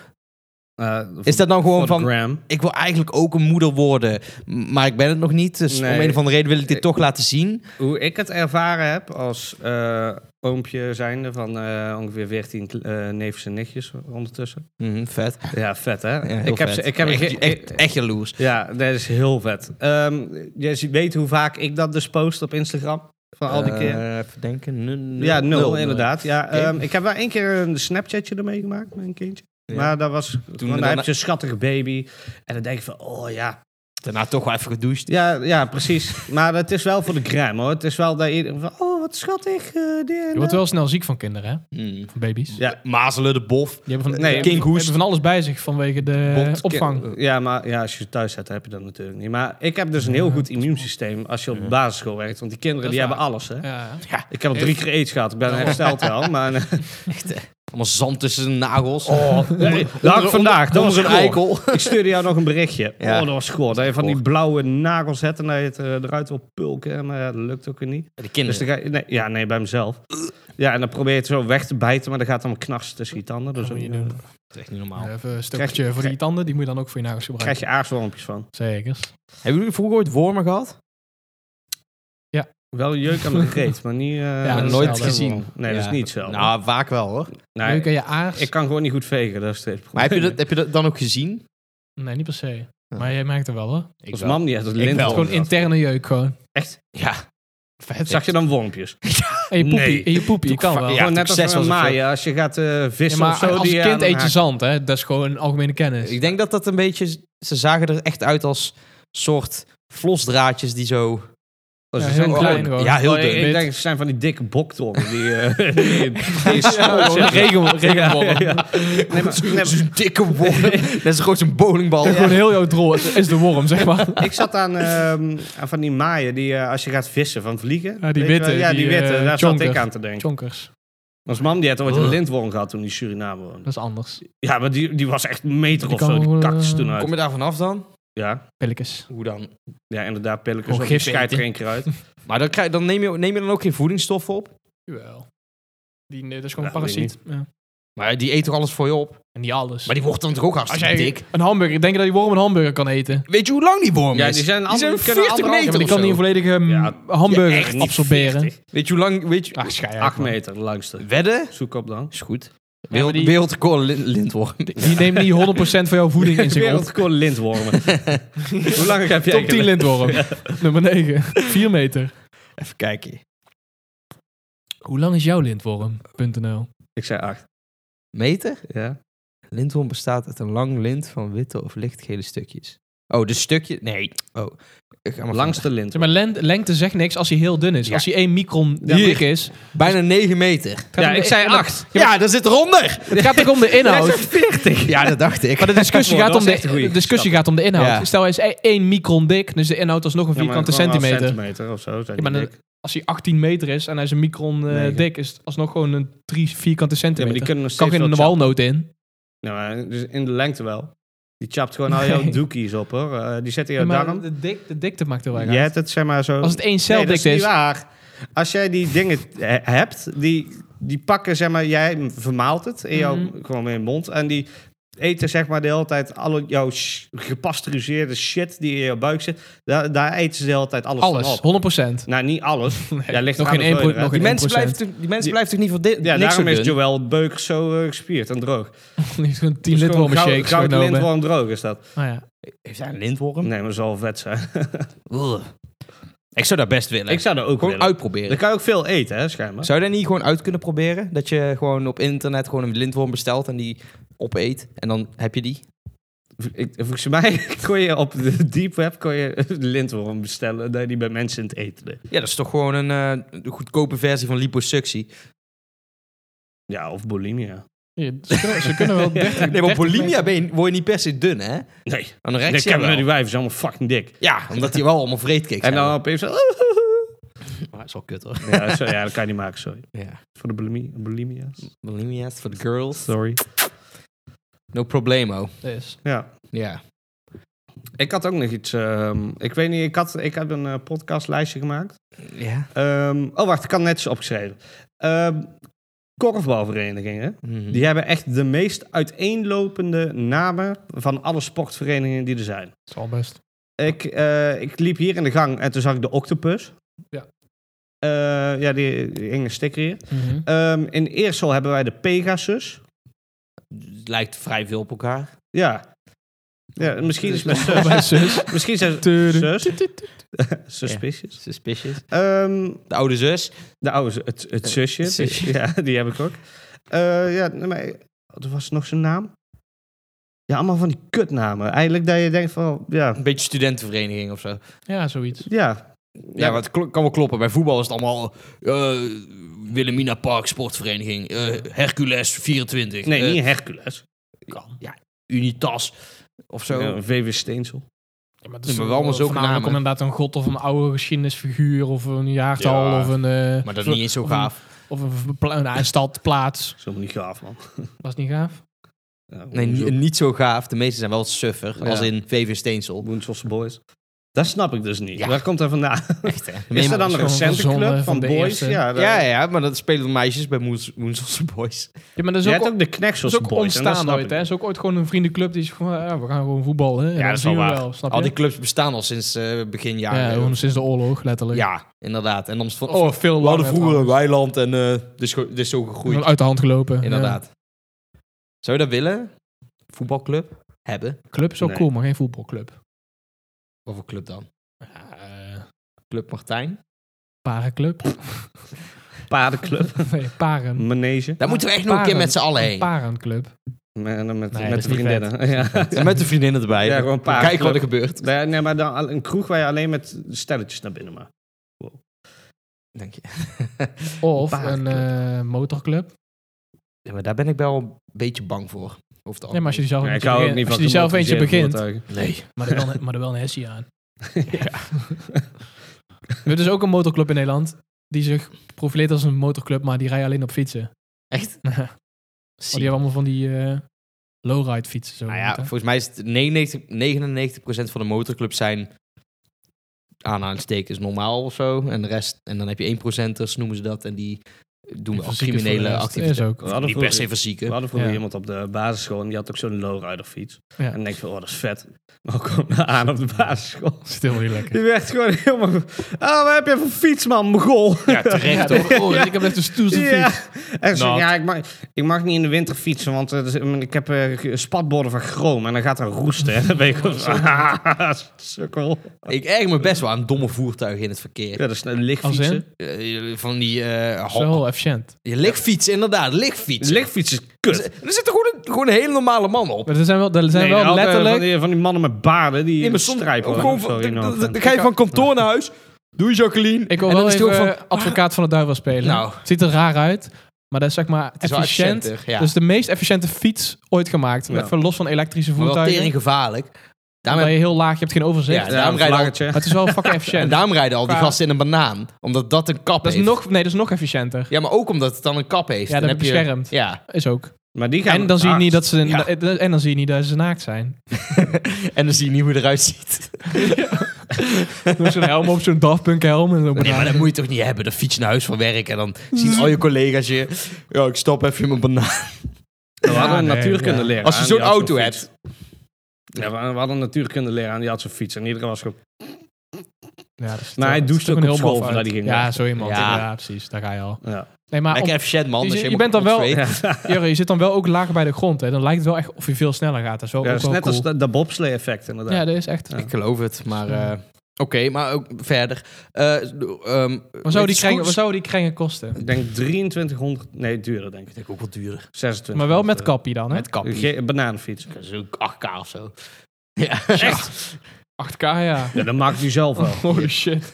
Is dat dan gewoon van. Eh, Gram. Ik wil eigenlijk ook een moeder worden, m- maar ik ben het nog niet. Dus om Nee. een of andere reden wil ik dit Ik- toch laten zien. Hoe ik het ervaren heb als eh, oompje zijnde van eh, ongeveer 14 kle- eh, neefjes en nichtjes ondertussen. Mhm, vet. Ja, vet hè? Ja, heel ik, heb vet. ze, ik heb echt, ge- echt, echt jaloers. Ja, dat is heel vet. Ehm, je ziet- weet hoe vaak ik dat dus post op Instagram? Van al die Eh, keer. even denken. Nul, nul, Ja, nul, nul, nul. inderdaad. Ja, Oké. ehm, ik heb wel één keer een Snapchatje ermee gemaakt met een kindje. Ja. Maar dat was, toen dan daarna- heb je een schattige baby. En dan denk je van, oh ja. Daarna toch wel even gedoucht. Ja, ja precies. maar het is wel voor de crème hoor. Het is wel dat je van, oh wat schattig. eh, dit en Je wordt dat. wel snel ziek van kinderen, hè? Mm. Van baby's. Ja. Mazelen, de bof. Die hebben van, Nee, nee, kinkhoest. hebben van alles bij zich vanwege de Bond- eh, opvang. Ja, maar ja, als je thuis zet, heb je dat natuurlijk niet. Maar ik heb dus een heel goed immuunsysteem als je op de basisschool werkt. Want die kinderen Dat die is hebben alles. waar. Hè? Ja. Ik heb al drie keer aids gehad. Ik ben hersteld wel. Maar, eh, Allemaal zand tussen de nagels. Oh, nee, dat had ik vandaag. Dat was een eikel. Ik stuurde jou nog een berichtje. Ja. Oh, dat was goor. Dat je van die blauwe nagels hebt en dat je het eh, eruit wil pulken. Maar ja, dat lukt ook weer niet. De Dus kinderen. dan ga je, nee, ja, nee, bij mezelf. Ja, en dan probeer je het zo weg te bijten, maar dan gaat dan knars tussen je tanden. Dus Dat moet je dan, doen. eh, Dat is echt niet normaal. Even een Krijg je- stukje voor die tanden, die moet je dan ook voor je nagels krijg gebruiken. je aarswormpjes van. Zeker. Hebben jullie vroeger ooit wormen gehad? Wel jeuk aan mijn reet, maar niet... eh, dat is nooit hetzelfde. gezien. Nee, dat is Ja. niet zo. Nou, vaak wel hoor. Nee, Leuk aan je aars. ik kan gewoon niet goed vegen, dat is het probleem. Maar heb je dat, heb je dat dan ook gezien? Nee, niet per se. Maar jij merkt het wel hoor. Het Ik Als mam die had het lint wel. is gewoon interne jeuk gewoon. Echt? Ja. Vet. Zag je dan wormpjes? En je poepie, Nee. en je poepie, je kan Fuck, wel. ja. Ja, gewoon net toen als ik zes een was of zo. maaien, als je gaat eh, vissen maar of zo. als die aan- kind eet je zand, hè? Dat is gewoon een algemene kennis. Ik denk dat dat een beetje... Ze zagen er echt uit als soort vlosdraadjes die zo... Oh, ze Ja, zijn heel klein. klein gewoon. Ja, heel Oh, ik- dun. Ik denk, ze zijn van die dikke boktoren. Die, eh die, die, Ja, gewoon regel- regenworm. Nee, Dus maar, nee, maar- Zo'n dikke worm. dat is gewoon zo'n bowlingbal. Gewoon heel jouw drol is is de worm, zeg maar. Ik zat aan, ehm, aan van die maaien die eh, als je gaat vissen van vliegen. Ja, die weet je witte, wel? Ja, die, die, witte. eh, Daar jonker. zat ik aan te denken. Chonkers, Ons mam die had ooit een Ugh. lintworm gehad toen die in Suriname dat woonde. is anders. Ja, maar die, die was echt een meter Die of kan zo. Die gewoon, kaktus eh, toen Kom uit. je daar vanaf dan? Ja, Pilletjes. Hoe dan? ja inderdaad, pilletjes. Gewoon op, Die gif scheidt er eten. geen keer uit. Maar dan, krijg, dan neem, je, neem je dan ook geen voedingsstoffen op? Jawel. Die, nee, dat is gewoon Ja, een weet ik parasiet. Ja. Maar die eet toch alles voor je op? En niet alles. Maar die wordt dan toch ook Als hartstikke jij dik? een hamburger, denk je dat die worm een hamburger kan eten? Weet je hoe lang die worm Ja, is? die zijn, alle, zijn die kunnen 40 anderhalve Ja, maar meter of die kan zo. niet een volledige mm, Ja, hamburger echt niet absorberen. 40. Weet je hoe lang... Weet je... Ach, schei Acht meter, de langste. Wedden? Zoek op dan. Is goed. maar Wereld, die- Wereldrecord lin- lintworm. Die neemt niet 100% van jouw voeding in zich op. Wereldrecord lintwormen. Hoe lang heb jij Top 10 lintworm. Nummer 9. 4 meter. Even kijken. Hoe lang is jouw lintworm.nl? Ik zei acht. Meter? Ja. Lintworm bestaat uit een lang lint van witte of lichtgele stukjes. Oh, de stukje? Nee. Oh. Ik ga maar Langste Zeg lintworm. maar, len- lengte zegt niks als hij heel dun is. Ja. Als hij 1 micron Ja, dik is. verder. Bijna 9 meter. Ja, ik zei acht. Ja, daar zit eronder. Het gaat toch om de inhoud? 40. Ja, dat dacht ik. Maar de discussie, Ja, gaat dat om is echt een de, goeie. de discussie gaat om de inhoud. Ja. Stel, hij is 1 micron dik, dus de inhoud is nog een vierkante centimeter. centimeter of zo. zijn Ja, maar die dan- dik. Als hij 18 meter is en hij is een micron eh, Negen. dik, is het alsnog gewoon een 3 vierkante Ja, maar centimeter. die kunnen nog kan steeds geen wel chappen. walnoot in. Nou, maar dus in de lengte wel. Die chapt gewoon al jouw Nee. doekies op, hoor. Eh, die zet in Ja, jouw maar darm. de, dik, de dikte maakt er wel Je uit. hebt het, zeg maar, zo... Als het één cel nee, dat dik is is. niet waar. Als jij die dingen he- hebt, die, die pakken, zeg maar... Jij vermaalt het in jouw, Mhm. gewoon in je mond. En die eten, zeg maar, de hele tijd... Alle jouw sh- gepasteuriseerde shit die in jouw buik zit. Daar, daar eten ze de hele tijd alles, van Alles, op. 100%. Nou, niet alles. Nee, Ja, ligt nog eraan geen hoeveel je 1%. eruit- Nog Die geen mensen, 1%. blijven, toch- die mensen blijven toch niet voor dit? Ja, niks zo daarom is dun? Joël Beukers zo eh, gespierd en droog. Niet gewoon Dus 10 gewoon lintwormen shakes goud, goud genomen. lintworm droog is dat. Ah, ja. Heeft hij een lintworm? Nee, maar dat zal wel vet zijn. Ugh. Ik zou dat best willen. Ik zou dat ook gewoon willen. uitproberen. Dan kan je ook veel eten, hè, schijnbaar. Zou je dat niet gewoon uit kunnen proberen? Dat je gewoon op internet gewoon een lintworm bestelt en die opeet. En dan heb je die. Ik, volgens mij kon je op de deep web kon je de lintworm bestellen dat je die bij mensen in het eten deed. Ja, dat is toch gewoon een eh, een goedkope versie van liposuctie. Ja, of bulimia. Ja, ze, kunnen, ze kunnen wel 30 Nee, maar 30 bulimia meter- ben je, word je niet per se dun, hè? Nee, ik Anorexia ken wel. met die wijven, is allemaal fucking dik. Ja, omdat die wel allemaal vreedkiks En dan hebben. opeens... zo- Maar dat is wel kut, hoor. Ja, sorry, ja, dat kan je niet maken, sorry. Ja. Voor de bulimia, bulimia's. Bulimia is voor de girls. Sorry. No problemo. Dus. Ja. Ja. Ik had ook nog iets... ehm, ik weet niet, ik had, ik had een eh, podcastlijstje gemaakt. Ja. Ehm, oh, wacht, ik had het netjes opgeschreven. Ehm, korfbalverenigingen, Mhm. die hebben echt de meest uiteenlopende namen van alle sportverenigingen die er zijn. Dat is al best. Ik, eh, ik liep hier in de gang en toen zag ik de octopus. Ja. Eh, ja, die, die hing een sticker hier. Mhm. Eh, Ehm, in Eersel hebben wij de Pegasus. Het Lijkt vrij veel op elkaar. Ja. ja misschien is mijn zus. Bij zus. Misschien zijn ze Tudu. zus. Tudu. Tudu. Suspicious. Suspicious. Ehm, De oude zus. De oude, zu- het, Eh, het zusje. het zusje. Die, ja, die heb ik ook. Eh, ja, nee, maar, eh, wat was nog zijn naam? Ja, allemaal van die kutnamen. Eigenlijk dat je denkt van, ja, Een beetje studentenvereniging of zo. Ja, zoiets. ja. Ja, maar het kl- kan wel kloppen. Bij voetbal is het allemaal eh, Wilhelmina Park Sportvereniging, eh, Hercules 24. Nee, eh, niet Hercules. Ja, Unitas of zo. Ja, VW Steensel. Ja, maar het Ja, maar wel allemaal zulke voornamelijk namen. om inderdaad een god of een oude geschiedenisfiguur of een jaartal Ja, of een... eh, Maar dat is niet eens zo of een- gaaf. Of een, pla- nou, een stad, plaats. Dat is helemaal niet gaaf, man. Was niet gaaf? Ja, Nee, Woensel- ni- niet zo gaaf. De meeste zijn wel suffer, Ja. als in VV Steensel. Woenselse boys. Dat snap ik dus niet. Ja. Waar komt dat vandaan? Echt, hè? Is dat dan een gewoon recente verzonnen club van, van de boys? eerste. Ja, dat, Ja, ja, maar dat spelen de meisjes bij Moes- Woenselse Boys. Ja, maar dat Je is ook, hebt o- ook de dat Knexels is ook boys. en dat ontstaan snap ooit. ik. Hè? Het is ook ooit gewoon een vriendenclub die is van... Ja, we gaan gewoon voetballen. Hè? Ja, dat is wel waar. snap Al je? die clubs bestaan al sinds eh, begin ja, jaren. gewoon Ja, sinds de oorlog, letterlijk. inderdaad. En dan is het van, Of oh, veel we hadden langer vroeger een trouwens. weiland en eh dit, is go- dit is zo gegroeid. Uit de hand gelopen. Inderdaad. Zou je dat willen? Voetbalclub? Hebben? Ja. Club is ook Nee. cool, maar geen voetbalclub. Wat voor club dan? Ja, eh, Club Martijn? parenclub. Paardenclub. nee, paren. Manege. Daar moeten we echt nog een keer met z'n allen heen. Parenclub. Met, met, Nee, dat met is de niet vriendinnen. Ja. En Met de vriendinnen erbij. Ja, gewoon paardenclub. Kijk wat er gebeurt. Nee, nee, maar dan een kroeg waar je alleen met stelletjes naar binnen mag. Dank je. Of Parenclub. een eh, motorclub. Ja, maar daar ben ik wel een beetje bang voor. Over het Ja, maar als Oh, je Oh, die zelf, Nee, ik een beetje hou ook begint- niet als van je die zelf eentje gemotoriseerde begint, voertuigen. Nee. Maar er wel, een- maar er wel een hessie aan. Er is ook een motorclub in Nederland die zich profileert als een motorclub, maar die rijden alleen op fietsen. Echt? Want die hebben allemaal van die eh, lowride fietsen. Zo Nou ja, genoemd, hè? volgens mij is het 99, 99% van de motorclubs zijn aanhalingstekens normaal of zo. En de rest, en dan heb je 1%ers, noemen ze dat. En die doen wel Fysieke voor de criminele rest. activiteiten. Is ook. We hadden Niet per se vroeger- We verzieken. hadden vroeger Ja. iemand op de basisschool en die had ook zo'n lowrider fiets. Ja. En dan denk ik van, oh, dat is vet. Maar kom nou aan op de basisschool. Zit helemaal niet lekker. Die werd gewoon helemaal... Ah, wat heb je voor fiets, man, mogol? Ja, terecht Ja, hoor. toch? Oh, ik heb net een stoelse Ja. fiets. En zo, Nou. ja, ik mag, ik mag niet in de winter fietsen, want eh, dus, mm, ik heb eh, g- spatborden van chroom en dan gaat er roesten. En dan ben ik gewoon zo, ah, sukkel. Ik erg me best wel aan domme voertuigen in het verkeer. Ja, dat is een Als lichtfietsen. in? Eh, van die... eh Zo hal- heel efficiënt. je lichtfiets, inderdaad. Lichtfiets. Lichtfietsen is kut. Er zit gewoon een, gewoon een hele normale man op. Maar er zijn wel, er zijn Nee, wel altijd letterlijk... eh, Van die, van die mannen met baarden die Nee, maar soms- strijpen. ook hoor. gewoon van- Sorry, dan- nou, dan- dan ga je van kantoor naar huis. Doei Jacqueline. Ik wil En dan wel is het ook even eh, van- advocaat van de duivel spelen. Nou. Het ziet er raar uit, maar dat is zeg maar Het is wel efficiënt. efficiënter, ja. Dus de meest efficiënte fiets ooit gemaakt. Ja. Even los van elektrische maar wel voertuigen. tering gevaarlijk. Daarmee Daarom, je heel laag, je hebt geen overzicht. Ja, Maar ja, daarom een rijden vlaggetje. het is wel fucking en efficiënt. daarom rijden al die Qua- gasten in een banaan. Omdat dat een kap Dat is heeft. nog, nee, dat is nog efficiënter. Ja, maar ook omdat het dan een kap heeft. Ja, dan heb je beschermd. Ja. Is ook. Maar die gaan Ah, En dan, zie je hard. niet dat ze, Ja. en dan zie je niet dat ze naakt zijn. En dan zie je niet hoe je eruit ziet. Met zo'n helm op, zo'n Daft Punk helm. En zo Nee, maar dat moet je toch niet hebben? Dan fiets je naar huis van werk en dan zien al je collega's je... Ja, ik stop even in mijn banaan. We hadden een nee, natuurkunde ja. leraar. Als je en zo'n die had auto fiets. hebt. Ja, we, we hadden een natuurkunde leraar en die had zijn fiets. En iedereen was gewoon... Ja, dat is- Maar hij dat is doucht toch ook een op heel school maf voordat uit. hij ging Ja, werken. zo iemand. Ja. Ja. precies. Daar ga je al. Ja. Nee, maar Lekker om- efficiënt man. je- als je helemaal bent dan wel- ontzweet. Ja. Jurre, je zit dan wel ook lager bij de grond. Hè. Dan lijkt het wel echt of je veel sneller gaat. Dat is wel, Ja, ook dat is wel net cool. als dat, dat bobslee-effect inderdaad. Ja, dat is echt. Ja. Ik geloof het, maar... Ja. eh, Oké, maar ook verder. Eh, ehm, Wat zou, die krengen, met wat scooters- zou die krengen kosten? Ik denk 2300... Nee, duurder denk ik. Ik denk ook wel duurder. 26. Maar wel met kappie dan, hè? Met kappie. Ge- banaanfiets. Dat is ook 8k of zo. Ja. Echt? 8k, ja. Ja, dat maakt u zelf wel. Holy shit.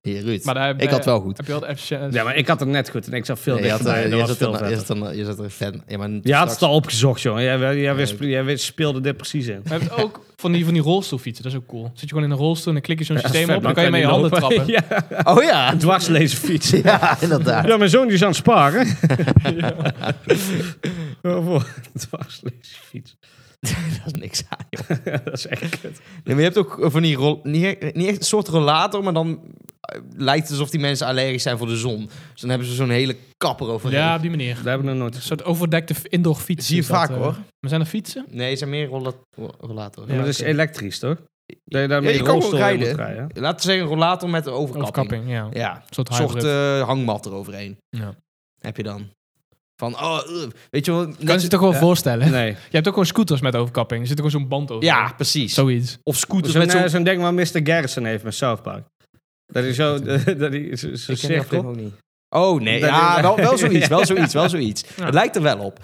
Hier, Ruud. Maar daar heb- ik had wel goed. Heb je wel de efficiënt? Ja, maar ik had het net goed en ik zat veel Nee, je, had, dichterbij. eh, dat je, was zat veel er, je, vetter. zat er, je zat er fan. Ja, maar Je had straks- het al opgezocht, jongen. Jij, jij, jij, wist- Nee. jij wist- speelde dit precies in. We hebben het ook van die, van die rolstoelfietsen. Dat is ook cool. Zit je gewoon in een rolstoel en dan klik je zo'n Ja, systeem vet, op. Dan kan je met je die handen lopen. trappen. ja, Oh ja. een dwarslezenfiets. Ja, inderdaad. Ja, mijn zoon die is aan het sparen. ja. voor een dwarslezenfiets. dat is niks aan, joh. dat is echt kut. Nee, maar je hebt ook eh, van die rol, niet, e- niet echt een soort rollator, maar dan eh, lijkt het alsof die mensen allergisch zijn voor de zon. Dus dan hebben ze zo'n hele kapper overheen. Ja, op die manier. Daar hebben we nog nooit Een soort overdekte f- indoor fiets. Zie je is dat, vaak, eh. hoor. Maar zijn er fietsen? Nee, ze zijn meer rolla ro- rollator. Maar dat is oké. elektrisch, toch? Dat je daarmee Ja, je een kan rolstoel gewoon in moet rijden. rijden. Laten we zeggen een rollator met een overkapping. Overkapping, ja. Een Ja, een soort hybrid. soort eh, hangmat eroverheen. Ja. Heb je dan. Van, oh, eh, weet je wel... kan je net- je toch wel voorstellen? hè? Nee. Je hebt ook gewoon scooters met overkapping. Er zit ook gewoon zo'n band over. Ja, precies. Zoiets. Of scooters Zo'n met zo'n... eh, zo'n ding wat Mr. Garrison heeft met South Park. Dat is zo... dat hij zo- zo'n Ik ken die aflevering cirkel... ook niet. Oh nee, Dat ja, is- wel, wel zoiets, wel zoiets, wel zoiets. Ja. Het lijkt er wel op.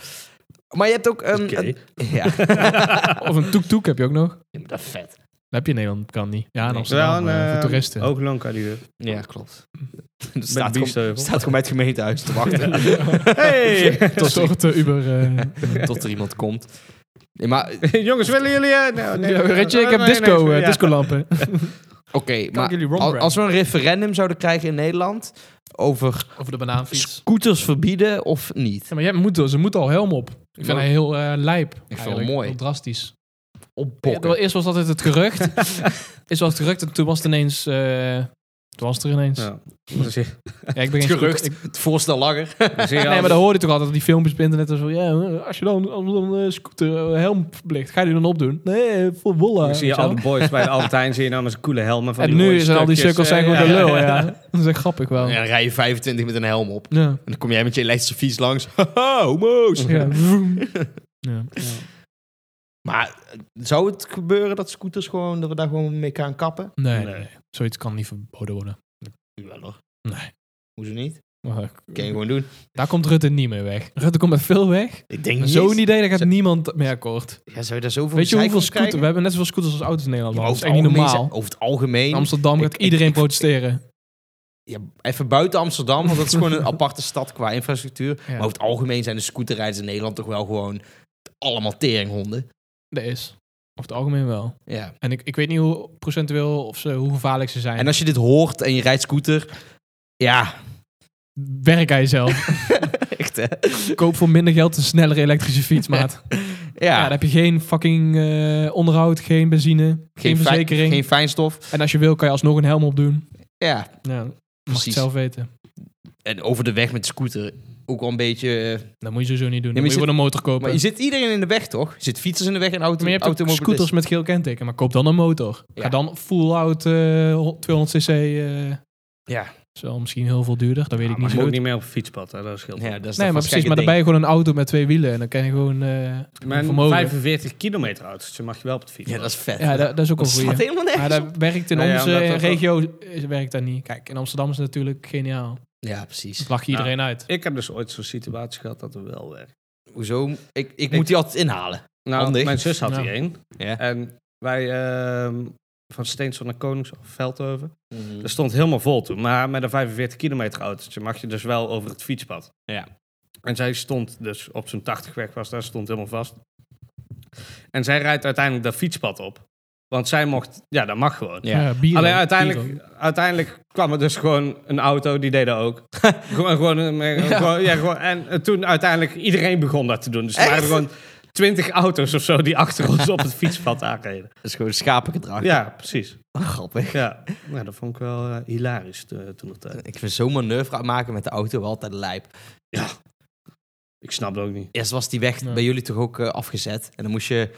Maar je hebt ook een... Oké. een- ja. Of een toek-toek heb je ook nog. dat is vet. Dat heb je in Nederland, kan niet. Ja, in Nee. Ja, Amsterdam, een, eh, eh, voor toeristen. Ook lang kan die Ja, Oh, klopt. Er staat, gewoon, biefsteuvel. staat gewoon bij het gemeentehuis te wachten. Hey! Een soort eh, Uber. eh, Tot er iemand komt. Nee, maar oké, Jongens, willen jullie... eh, nou, nee, ja, nee, Retje, nee, ik heb nee, disco, nee, eh, ja. discolampen. maar jullie al- rombrand? als we een referendum zouden krijgen in Nederland over Over de banaanfiets. scooters verbieden of niet. Ja, maar jij moet, ze moeten al helm op. Ik vind Maar- hij heel eh, lijp. Ik het mooi. Heel drastisch. Oppokken. Ja, eerst was dat het gerucht. eerst was het gerucht en toen was het ineens... eh, toen was het er ineens. Ja. Ja. Dan zie je- ik ben Het geen gerucht, scooter- ik- het voorstel langer. dan zie je nee, al- maar dan hoorde je toch altijd die filmpjes op internet en zo. Ja, eh, als je dan, als we dan eh, scooter eh, helm verplicht, ga je die dan opdoen? Nee, eh, voor wolla. Dan zie je weet je wel. al de boys bij de Albertijn, zie je nou met zijn coole helmen van En die nu mooie zijn al die stukjes. cirkels zijn Eh, gewoon ja. de lul, ja. Dat is echt grappig wel. En Ja. dan rij je 25 met een helm op. Ja. En dan kom jij met je elektrische fiets langs. Haha, homo's. Vroom. ja. Maar eh, zou het gebeuren dat scooters gewoon, dat we daar gewoon mee gaan kappen? Nee, nee. Nee. nee. zoiets kan niet verboden worden. Wel hoor. Nee. Hoezo niet? Maar, Kan je gewoon doen. daar komt Rutte niet mee weg. Rutte komt met veel weg. Ik denk Maar niet. Zo'n idee, daar gaat Zo- niemand mee akkoord. Ja, zou je daar zoveel Weet je gezeik hoeveel van krijgen? scooters... We hebben net zoveel scooters als auto's in Nederland. Ja, man. maar dat is echt niet algemeen normaal. zijn- over het algemeen. In Amsterdam gaat Ik- ik- iedereen ik- protesteren. ja, even buiten Amsterdam, want dat is gewoon een aparte stad qua infrastructuur. Ja. Maar over het algemeen zijn de scooterrijders in Nederland toch wel gewoon allemaal teringhonden. Dat is. Over het algemeen wel. Ja. En ik, ik weet niet hoe procentueel of ze, hoe gevaarlijk ze zijn. En als je dit hoort en je rijdt scooter, ja, Werk aan jezelf. echt hè. Koop voor minder geld een snellere elektrische fiets, maat. Ja, Ja, dan heb je geen fucking eh, onderhoud, geen benzine, geen, geen, fijn- verzekering. geen fijnstof. En als je wil, kan je alsnog een helm opdoen. Ja, Ja, mag je Precies. het zelf weten. en over de weg met de scooter ook wel een beetje... eh, Dat moet je sowieso niet doen. Dan Ja, moet maar je je zit- gewoon een motor kopen. maar je zit iedereen in de weg, toch? Je zit fietsers in de weg en auto, Maar je hebt ook automobilisten. scooters met geel kenteken, maar koop dan een motor. Ja. Ga dan full-out 200cc. eh Ja, is wel misschien heel veel duurder, dat weet ik Maar niet je zo moet goed. niet meer op fietspad, hè, dat scheelt. ja dat is nee, maar precies, maar dan ben daarbij je gewoon een auto met twee wielen en dan kan je gewoon... eh, Mijn Vermogen. 45 kilometer auto's, je mag je wel op het fiets. Ja, dat is vet. ja, dat, dat is ook Dat een slaat goede. helemaal Maar nergens op. dat werkt in Nou ja, onze omdat dat regio eh, werkt dat niet. Kijk, in Amsterdam is het natuurlijk geniaal. Ja, precies. Dat lach je Ja. iedereen uit. Ik heb dus ooit zo'n situatie gehad dat er wel werkt. Hoezo? Ik, ik, moet die altijd inhalen. Nou, Handig. mijn zus had Ja. die één. Ja. En wij ehm, van Steensel naar Koningshof, Veldhoven. Dat stond helemaal vol toen. Maar met een 45 kilometer autootje mag je dus wel over het fietspad. Ja. En zij stond dus op zijn 80 weg was, daar stond helemaal vast. En zij rijdt uiteindelijk dat fietspad op. Want zij mocht, ja dat mag gewoon. Ja. Alleen bier ook, bier uiteindelijk, ook. uiteindelijk kwam er dus gewoon een auto, die deed dat ook. gewoon, gewoon, een- gewoon- ja, gewoon- en eh, toen uiteindelijk iedereen begon dat te doen. Dus er waren gewoon twintig auto's of zo die achter ons op het fietspad aanreden. Dat is gewoon schapengedrag. Ja, precies. Grappig. Ja, Nou, dat vond ik wel eh, hilarisch te- toen eh, nog tijd. Ik vind zo'n manoeuvre maken met de auto wel altijd lijp. Ik snap dat ook niet. Eerst was die weg Ja. bij jullie toch ook eh, afgezet. En dan moest je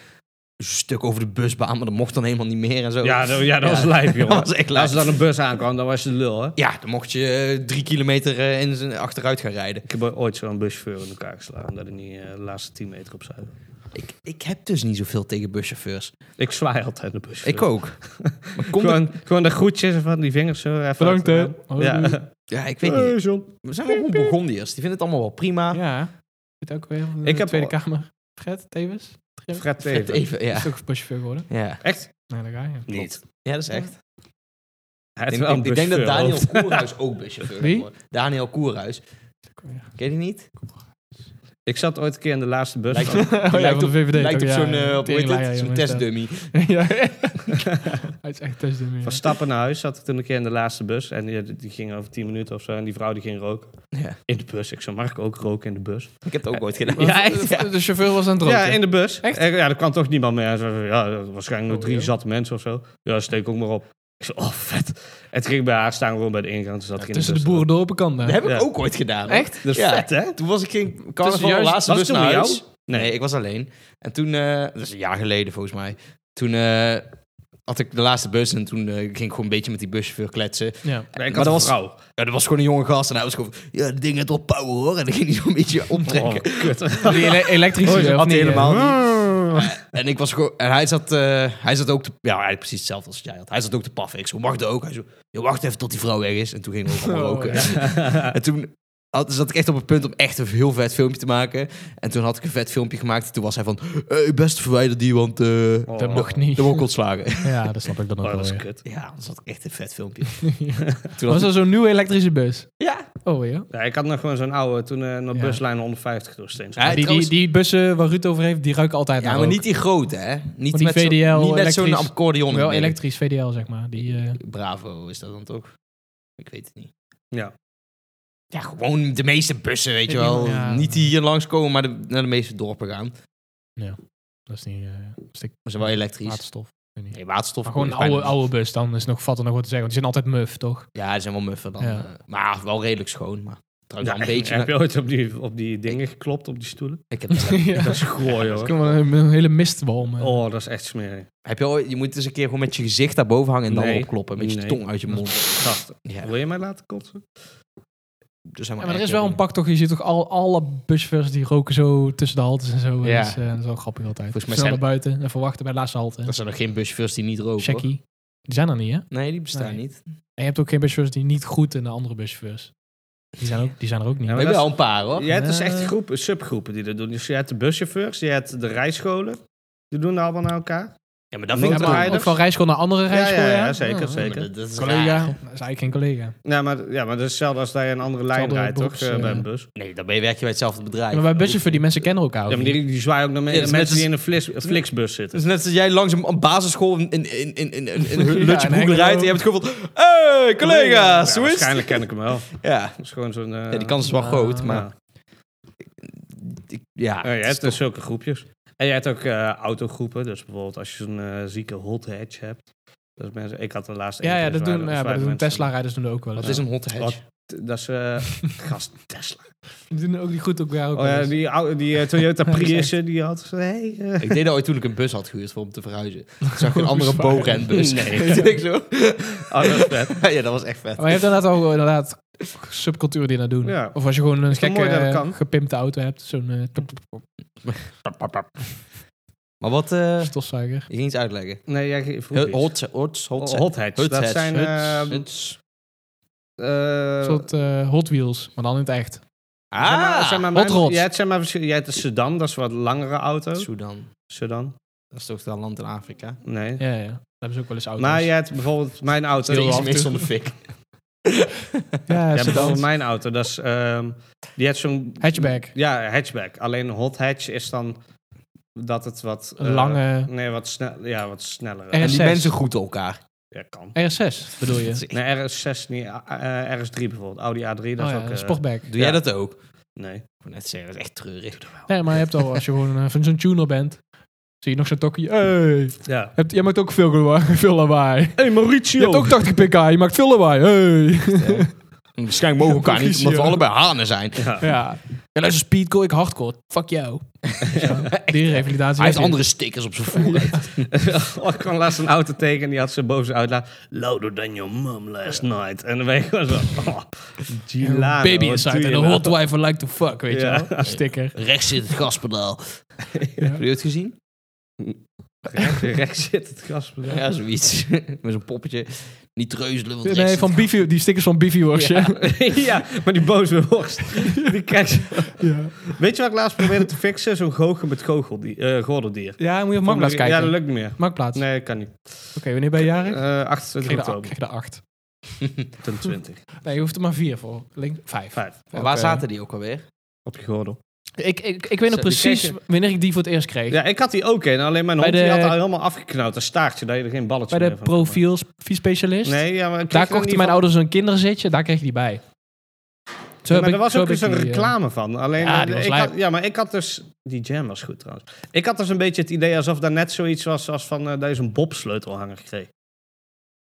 een stuk over de busbaan, maar dat mocht dan helemaal niet meer en zo. Ja, dat, ja, dat Ja. was lijp, jongen. Dat was echt Als lijp. er dan een bus aankwam, dan was je de lul, hè? Ja, dan mocht je eh, drie kilometer eh, in zijn achteruit gaan rijden. Ik heb ooit zo'n buschauffeur in elkaar geslagen, dat ik niet eh, de laatste 10 meter op zou. Ik, ik heb dus niet zoveel tegen buschauffeurs. Ik zwaai altijd de buschauffeur. Ik ook. maar komt Gewoon, gewoon de groetjes van die vingers zo even Bedankt, hè. achteraan. Oh, Ja. doei. Ja, ik weet niet. Hey, John. We zijn wel gewoon Burgondiërs. Die vinden het allemaal wel prima. Ja. Zit ook weer van de Ik heb Tweede al- Kamer. Fred Tevens? Fred Even, Teven. ja. Is ook buschauffeur geworden? ja. Echt? Nee, daar ga je. Niet. Ja, dat is echt. Hij is Ik, wel een ik- ik denk dat buschauffeur, Daniel hoor. Koerhuis ook buschauffeur Wie? is geworden. Daniel Koerhuis. Ken je die niet? Ik zat ooit een keer in de laatste bus. Lijkt van- Oh, lijkt van de VVD Lijkt toch, op ja, zo'n, ja. eh, hoe heet het? Teringlaaier, zo'n jongens, dat. testdummy. ja. Hij is echt testdummy. Van ja. Stappen naar huis zat ik toen een keer in de laatste bus. En die, die ging over 10 minuten of zo. En die vrouw die ging roken. Ja. In de bus. Ik zei, mag ik ook roken in de bus? Ik heb het ook ooit gedaan. Want Ja, echt, de- De chauffeur was aan het roken. Ja, in de bus. Echt? En Ja, er kwam toch niemand meer. En ze- Ja, er- waarschijnlijk nog Oh, drie joh. zatte mensen of zo. Ja, steek ook maar op. Ik zei, oh vet. En het ging bij haar staan gewoon bij de ingang. Ze zat geen Tussen de boerendorpen kan daar. Dat heb ik Ja. ook ooit gedaan. hoor. Echt? Dat is Ja. vet, hè? Toen was ik in carnaval juist- laatste was bus het toen naar met huis. jou? Nee. Nee. ik was alleen. En toen, eh, dat is een jaar geleden volgens mij. Toen eh, had ik de laatste bus en toen eh, ging ik gewoon een beetje met die buschauffeur kletsen. Ja. Nee, ik Maar had dat een was- vrouw. Ja, er was gewoon een jonge gast en hij was gewoon... Ja, dat ding heeft wel power hoor. En dan ging hij zo'n beetje Oh, omtrekken. kut. Die ele- elektrische. Oh, ze of had niet, hij eh? helemaal niet. En, ik was gewoon, en hij, zat, eh, hij zat ook te... Ja, eigenlijk precies hetzelfde als jij had. Hij zat ook te paffen. Ik zo, mag dat ook? Hij zo, je wacht even tot die vrouw weg is. En toen ging we ook allemaal Oh, roken. En toen had, zat ik echt op het punt om echt een heel vet filmpje te maken. En toen had ik een vet filmpje gemaakt. En toen was hij van, eh best verwijder die, want eh Oh. Dat mag niet. dan word ik ontslagen. Ja, dat snap ik dan ook Oh, wel. dat is weer. kut. Ja, anders had ik echt een vet filmpje. toen Was had ik- dat zo'n nieuwe elektrische bus? ja. Oh ja. Ja, ik had nog gewoon zo'n oude, toen eh naar Ja. buslijn 150 door Steens. Ja, die, die, trouwens- die bussen waar Ruud over heeft, die ruiken altijd naar ja, maar rook. niet die grote, hè? Niet die met zo'n- VDL niet met zo'n elektrisch- accordeon. in Wel midden. elektrisch VDL, zeg maar. Die, eh, Bravo is dat dan toch? Ik weet het niet. Ja. Ja, gewoon de meeste bussen, weet je Ja, wel. ja. Niet die hier langskomen, maar de- naar de meeste dorpen gaan. Maar dat is niet... eh, een stuk ze zijn wel elektrisch. waterstof. Weet niet. Nee, waterstof. Maar gewoon een is bijna oude, niet. oude bus, dan is nog, valt er nog wat te zeggen. Want die zijn altijd muf, toch? Ja, die zijn wel muffer dan. Ja. eh, maar wel redelijk schoon. Maar trouwens Ja, wel een beetje... Heb je ooit op die, op die dingen geklopt, op die stoelen? Ik heb, dat- Dat is gooi, hoor. kunnen we een hele mistwalm. eh. Oh, dat is echt smerig. heb je ooit... Je moet eens een keer gewoon met je gezicht daarboven hangen en dan Nee. opkloppen. Met je Nee. tong uit je mond. Gast, Ja, wil je mij laten kotsen? er zijn Ja, maar maar er echt is wel heel- een pak toch, je ziet toch al, alle buschauffeurs die roken zo tussen de haltes en zo. Ja. Ja. Dat, is, eh, dat is wel grappig altijd. Volgens mij Snel zijn- naar buiten en verwachten bij de laatste halte. Er zijn nog geen buschauffeurs die niet roken. hoor. Checkie. Die zijn er niet, hè? Nee, die bestaan Nee. niet. En je hebt ook geen buschauffeurs die niet groeten naar andere buschauffeurs. Die zijn, ook, die zijn er ook niet. Ja, We maar hebben dat wel een paar, hoor. Ja, het is dus echt Eh. groepen, subgroepen die dat doen. Dus je hebt de buschauffeurs, je hebt de rijscholen. Die doen dat allemaal naar elkaar. Ja, maar dat vind ik maar Motorrijders. ook van rijschool naar andere rijschool. ja, ja, zeker, Ah, zeker. Dat, dat is Collega. raar. Dat is eigenlijk geen collega. Ja, maar, ja, maar dat is hetzelfde als dat je een andere lijn Hetzelfde rijdt, toch? box, eh, bij eh. een bus. Nee, dan ben je, werk je bij hetzelfde bedrijf. maar bij buschauffeur, die mensen kennen elkaar ook Ja, maar niet. die, die zwaaien ook naar me- Ja, dat is net mensen die als- in een flis, een flixbus zitten. Het is net als jij langs een een basisschool in, in, in, in, in, in een Ja, lutje in broek Hengelo. rijdt en je hebt het gevoel van... Hey, collega's, Ja, hoe is het? waarschijnlijk ken ik hem wel. Ja. Dat is gewoon zo'n... eh, ja, die kans is wel Ja. groot, ja. maar... ik- ja, Ja, je het Ah, is hebt dus zulke groepjes. En je hebt ook eh, autogroepen. Dus bijvoorbeeld als je zo'n eh, zieke hot hatch hebt. Dat mensen, ik had de laatste Ja, ja, dat doen, ja, maar dat doen Tesla-rijders doen dat ook wel toch- eens. Wat is een hot hatch? Wat? Dat is... eh, gast, Tesla. Die doen ook die goed ook daar ook Oh, wel ja, eens. die oude- die eh, Toyota Dat is Prius eh, die had... zo, Hey, eh. Ik deed dat ooit toen ik een bus had gehuurd voor om te verhuizen. Toen zag ik een andere Zwaar. BoRen-bus. Nee. Toen ik zo... Oh, dat is vet. ja, dat was echt vet. Maar je hebt inderdaad ook inderdaad subculturen die dat doen. Ja. Of als je gewoon een toch gekke mooi dat dat eh, kan? gepimpte auto hebt. Zo'n eh, tup, tup, tup, Maar wat... eh, stofzuiger. je ging iets uitleggen. Nee, jij vroeg Hot, iets. hot, hot, hot, Hot hatch. hot dat hatch. zijn... Hut, ehm, hut. eh, Een soort eh, Hot Wheels, maar dan in het echt. zeg maar- Ah, zeg maar hot mijn- rods. Ja, het zijn maar verschil- jij hebt de sedan, dat is wat langere auto. Sudan. Sedan? Dat is toch dat land in Afrika? Nee. Ja, ja. Daar hebben ze ook wel eens auto's. Maar je hebt bijvoorbeeld mijn auto. Heel af en mis toe. de fik. ja, Ja, ze bijvoorbeeld dan. mijn auto, dat is, ehm, die heeft zo'n... Hatchback. Ja, hatchback. Alleen een hot hatch is dan dat het wat... Een eh, lange Nee, wat, snel, ja, wat sneller. En- En die Zes. mensen goed elkaar. ja, kan. RS6 bedoel je? Dat Oh is echt- Nee, RS6 niet. eh, eh, RS3 bijvoorbeeld. Audi A3, dat is Oh ja, ook... een eh, sportback. Doe Ja. jij dat ook? Ik Nee. wou net zeggen, dat is echt treurig. Nee, maar je hebt al, als je gewoon eh, van zo'n tuner bent, zie je nog zo'n tokkie. Hey. Ja. Hebt, jij maakt ook veel, gewa- veel lawaai. Hé, hey, Je Mauricio! hebt ook 80 pk, je maakt veel lawaai. Hey. Waarschijnlijk mogen we elkaar niet, omdat we allebei hanen zijn. Ja. Ja. Ja, luister, speedcore, ik hardcore. Fuck jou. Ja, die revalidatie. Hij heeft heb je. andere stickers op zijn voorhoofd. Oh, ik kwam laatst een auto tegen en die had ze boven zijn uitlaat. Louder than your mum last night. En dan ben je gewoon zo... Oh, Gilano, Baby wat doe inside je en een nou? hot wife I like to fuck, weet Ja. je wel. Sticker. Rechts zit het gaspedaal. Heb je het gezien? Rechts- Rechts zit het gaspedaal. Ja, zoiets. Met zo'n poppetje. Niet treuzelen, want rechts Nee, zit van het Beefy, die stickers van Beefy was ja. ja, maar die boze worst. Die krijg je- ja. Weet je wat ik laatst probeerde te fixen? Zo'n goochel met goocheldier, eh gordeldier. Ja, moet je op Marktplaats kijken. Ja, dat lukt niet meer. Marktplaats. Nee, kan niet. Oké, wanneer ben je jarig? Eh krijg, je 28 er acht, oktober. krijg je er acht. 20. Nee, je hoeft er maar vier voor. Link, vijf. Vijf. gaspedaal. Oké. Waar zaten die ook alweer? Op je gordel. Ik, ik, ik weet nog Zo, die precies krijg wanneer ik die voor het eerst kreeg. Ja, ik had die ook in. Alleen mijn Bij hond die de- had al helemaal afgeknauwd. Een staartje, dat je er geen balletje Bij de meer van kon maken. profielspecialist. Nee, ja, maar... Daar kochten mijn auto. ouders een kinderzitje, daar kreeg je die bij. Zo heb maar ik- er was zo ook heb eens ik een die, eh, reclame van. Alleen, Ja, eh, die was ik lijp. had, ja, maar ik had dus... Die jam was goed trouwens. Ik had dus een beetje het idee alsof daar net zoiets was als van... eh dat je zo'n bobsleutelhanger kreeg.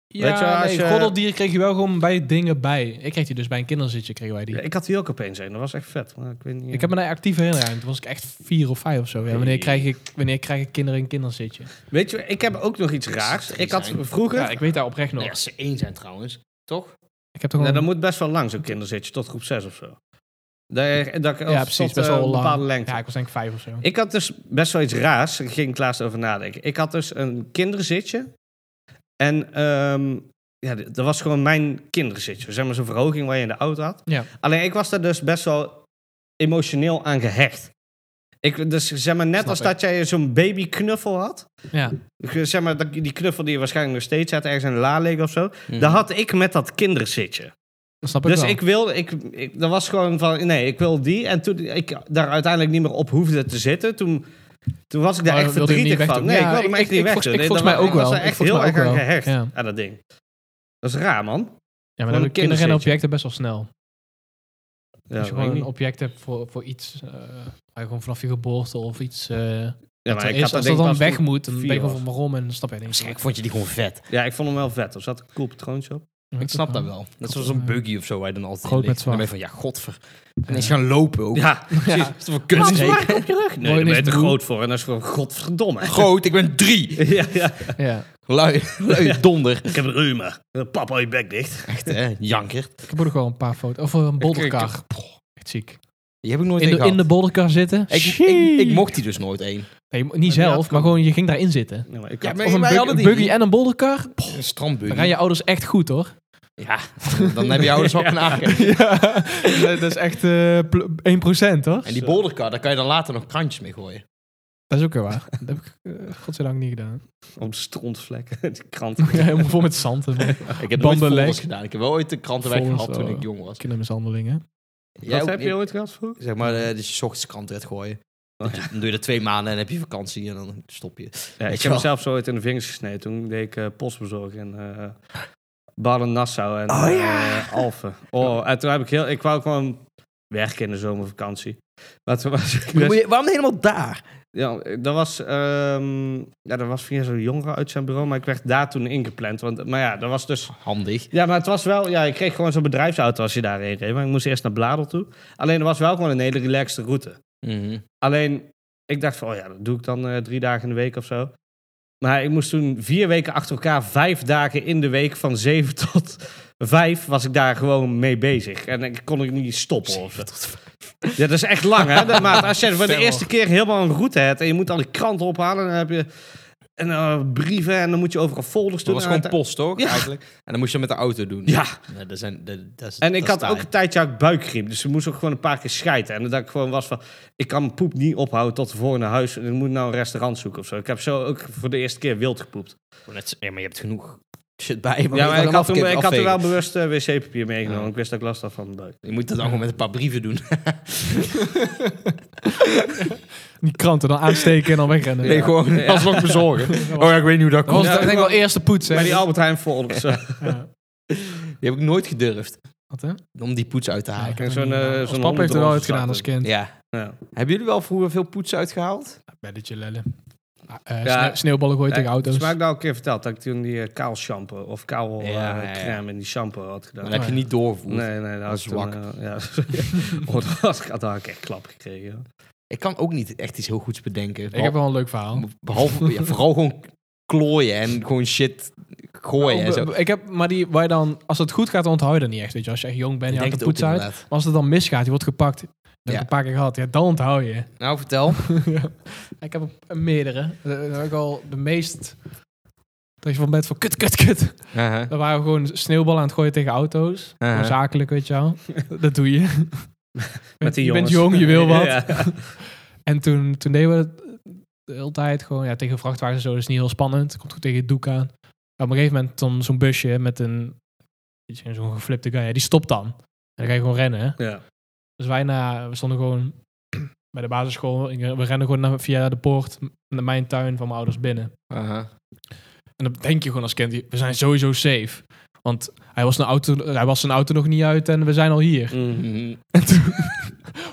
Ja, Weet je wel, als nee, je- gordeldier kreeg je wel gewoon bij dingen bij. Ik kreeg die dus bij een kinderzitje, kregen wij die. Ja, ik had die ook opeens een. Dat was echt vet. Maar ik weet niet, eh. Ik heb me daar actief herinnerd. Toen was ik echt vier of vijf of zo. Ja, wanneer, Hey. krijg ik, wanneer krijg ik kinderen een kinderzitje? Weet je, ik heb ook nog iets raars. Ik had zijn. vroeger... Ja, ik weet daar oprecht nog. Nee, Nou, als ze één zijn trouwens. Toch? Ik heb toch Nou, gewoon... dat moet best wel lang zo'n kinderzitje. Tot groep 6 of zo. Dat, je- dat, ja, precies. Tot, Best eh, wel een lang. bepaalde lengte. Ja, ik was denk ik vijf of zo. Ik had dus best wel iets raars. Daar ging ik laatst over nadenken. Ik had dus een kinderzitje. En ehm, ja, d- dat was gewoon mijn kinderzitje. Zeg maar zo'n verhoging waar je in de auto had. Ja. Alleen ik was daar dus best wel emotioneel aan gehecht. Ik, dus zeg maar net Snap als ik. dat jij zo'n babyknuffel had. Ja. Ik Zeg maar dat- die knuffel die je waarschijnlijk nog steeds had, ergens in de la liggen of zo. Mhm. Dat had ik met dat kinderzitje. Dat snap ik Dus wel. ik wilde, ik, ik, dat was gewoon van, nee, ik wil die. En toen ik daar uiteindelijk niet meer op hoefde te zitten, toen, toen was ik daar Maar echt wilde je hem niet verdrietig van. wegdoen? Nee, ik Ja, wilde hem ik- echt ik- niet ik weg volgens- doen. ik volgens Dat mij was- ook wel. Ik was er Ik echt volgens heel mij erg ook aan wel. gehecht Ja. aan dat ding. Dat is raar, man. ja, een maar dan hebben kinderen en kinderzitje. objecten best wel snel. Ja, Als weet je ik gewoon een niet. object hebt voor, voor iets, eh, waar je gewoon vanaf je geboorte of iets. eh, Ja, wat maar er ik had is, denk als dat ik dan pas weg toen- moet, dan vier ben je gewoon was. van waarom en dan stap je ineens. Waarschijnlijk vond je die gewoon vet. Ja, ik vond hem wel vet. Er zat een cool patroontje op. Ik snap dat wel. Net zoals een buggy of zo waar je dan altijd in Groot met ligt. Dan ben je van, ja, godver. En is gaan lopen ook. Ja, precies. Ja. Dat is voor kunst. Wat, op je rug? Nee, daar ben je ineens te moe. groot voor. En dat is gewoon godverdomme. Groot, ik ben drie. Ja, ja. Ja. Lui, lui donder. Ik heb een reuma. Papa, je bek dicht. Echt, hè? Jankert. Ik heb ook wel een paar foto's. Of eh, een bolderkar. Poh, Echt ziek. Die heb ik nooit In één de, in de gehad. bolderkar zitten. Ik, ik, ik mocht die dus nooit één. Nee, niet zelf, maar gewoon je ging daarin zitten. Ja, maar ik Ja, had- maar- Of een wij bug- hadden die buggy niet. en een bolderkar. Poh, Een Dan strandbuggy. gaan je ouders echt goed hoor. Ja, dan heb je ouders ook een aangegeven. Ja, dat is echt eh, pl- 1% hoor. En die bolderkar, daar kan je dan later nog krantjes mee gooien. Dat is ook weer waar. Dat heb ik eh, godzijdank niet gedaan. Op strontvlekken. Die krant. Ja, helemaal vol met zand en met Ik heb nooit Banden folders lek. gedaan. Ik heb wel ooit de krantenwijk Folders, gehad toen oh. ik jong was. kindermishandelingen. Jij Wat ook heb niet? je ooit gehad vroeger? Zeg maar, eh, dat je 's ochtends krant eruit gooien. Oh, Dan doe je er twee maanden en heb je vakantie en dan stop je. Ja, Weet ik je heb wel. mezelf zo ooit in de vingers gesneden. Toen deed ik eh, postbezorg in eh Baden-Nassau en Oh, eh, ja. Alphen. Oh, en toen heb ik heel... Ik wou gewoon werken in de zomervakantie. Maar toen was ik Maar best- moet je- waarom helemaal daar? ja, dat was, ehm, ja, dat was via zo'n jongere uit zijn bureau, maar ik werd daar toen ingepland. Want, maar ja, dat was dus... Handig. Ja, maar het was wel... Ja, ik kreeg gewoon zo'n bedrijfsauto als je daarheen reed. Maar ik moest eerst naar Bladel toe. Alleen, er was wel gewoon een hele relaxte route. Alleen, ik dacht van, oh ja, dat doe ik dan eh, drie dagen in de week of zo. Maar ik moest toen vier weken achter elkaar, vijf dagen in de week, van zeven tot vijf, was ik daar gewoon mee bezig. En ik kon ik niet stoppen of zo. Ja, dat is echt lang, hè? Dat- Maar als je voor de Ver. eerste keer helemaal een route hebt en je moet al die kranten ophalen, dan heb je en, eh, brieven en dan moet je overal folders Dat doen. was En gewoon uite- post, toch? eh, Ja. Eigenlijk. En dan moest je dat met de auto doen. Ja. Nee, dat zijn, dat, dat is, En ik had dat is ook taai. een tijdje uit buikgriep. Dus ik moest ook gewoon een paar keer schijten. En dat ik gewoon was van... Ik kan mijn poep niet ophouden tot de volgende huis. En ik moet nou een restaurant zoeken of zo. Ik heb zo ook voor de eerste keer wild gepoept. Net- Ja, maar je hebt genoeg shit bij. je, maar ja, je maar kan ik had, afkippen, toen, ik had er afvegen. wel bewust eh, wc-papier meegenomen. Ja. Ik wist dat ik last had van mijn buik. Je moet dat dan gewoon met een paar brieven doen. Die kranten dan aansteken en dan wegrennen. Nee, gewoon Ja. alsnog bezorgen. Dat Oh was, ja, ik weet niet hoe dat dat was komt. denk ik wel eerste poets. hè? Bij die Albert Heijn folders. eh, Ja. Die heb ik nooit gedurfd. Wat hè? Om die poets uit te Ja, halen. ik heb en het zo'n, niet eh, gedaan. zo'n Ons papa heeft er wel honderdrol uit gedaan als kind. Ja. ja. Hebben jullie wel vroeger veel poets uitgehaald? Belletje lellen. Ah, eh, Ja. sne- sneeuwballen gooien tegen Het auto's. is mij ook al nou een keer verteld dat ik toen die eh, kaal shampoo of kaal eh, Ja, ja, ja. crème en die shampoo had gedaan. Dan heb je ja. niet doorgevoerd. Nee, nee, dat Dat was is zwak. zwak. eh, ja, oh, dat had ik- had ik echt klap gekregen. joh. Ik kan ook niet echt iets heel goeds bedenken. Ik heb wel een leuk verhaal. Behalve, ja, vooral gewoon klooien en gewoon shit gooien en zo. Nou, ik heb, maar die, waar je dan, als het goed gaat, dan onthoud je dat niet echt. Weet je, als je echt jong bent, Ik je denk houdt de het ook poets uit. inderdaad. Maar als het dan misgaat, je wordt gepakt. Dat heb Ja. ik een paar keer gehad. Ja, dan onthoud je. Nou, vertel. ik heb een- meerdere. Dat heb ik al de meest... Dat je van bent van kut, kut, kut. Aha. Dan waren we gewoon sneeuwballen aan het gooien tegen auto's. Uh-huh. Gewoon Zakelijk, weet je wel. Dat doe je. Met die je jongens. bent jong, je wil wat. Ja. En toen, toen deden we het de hele tijd gewoon ja, tegen vrachtwagens en zo. Dat is niet heel spannend. Komt goed tegen het doek aan. En op een gegeven moment dan zo'n busje met een... weet je, Zo'n geflipte guy. Ja, die stopt dan. En dan ga je gewoon rennen. hè. Ja. Dus wij na, we stonden gewoon bij de basisschool. Ik- We rennen gewoon naar, via de poort naar mijn tuin van mijn ouders binnen. Aha. En dan denk je gewoon als kind, we zijn sowieso safe. Want hij was, een auto, hij was zijn auto nog niet uit en we zijn al hier. Mhm. En toen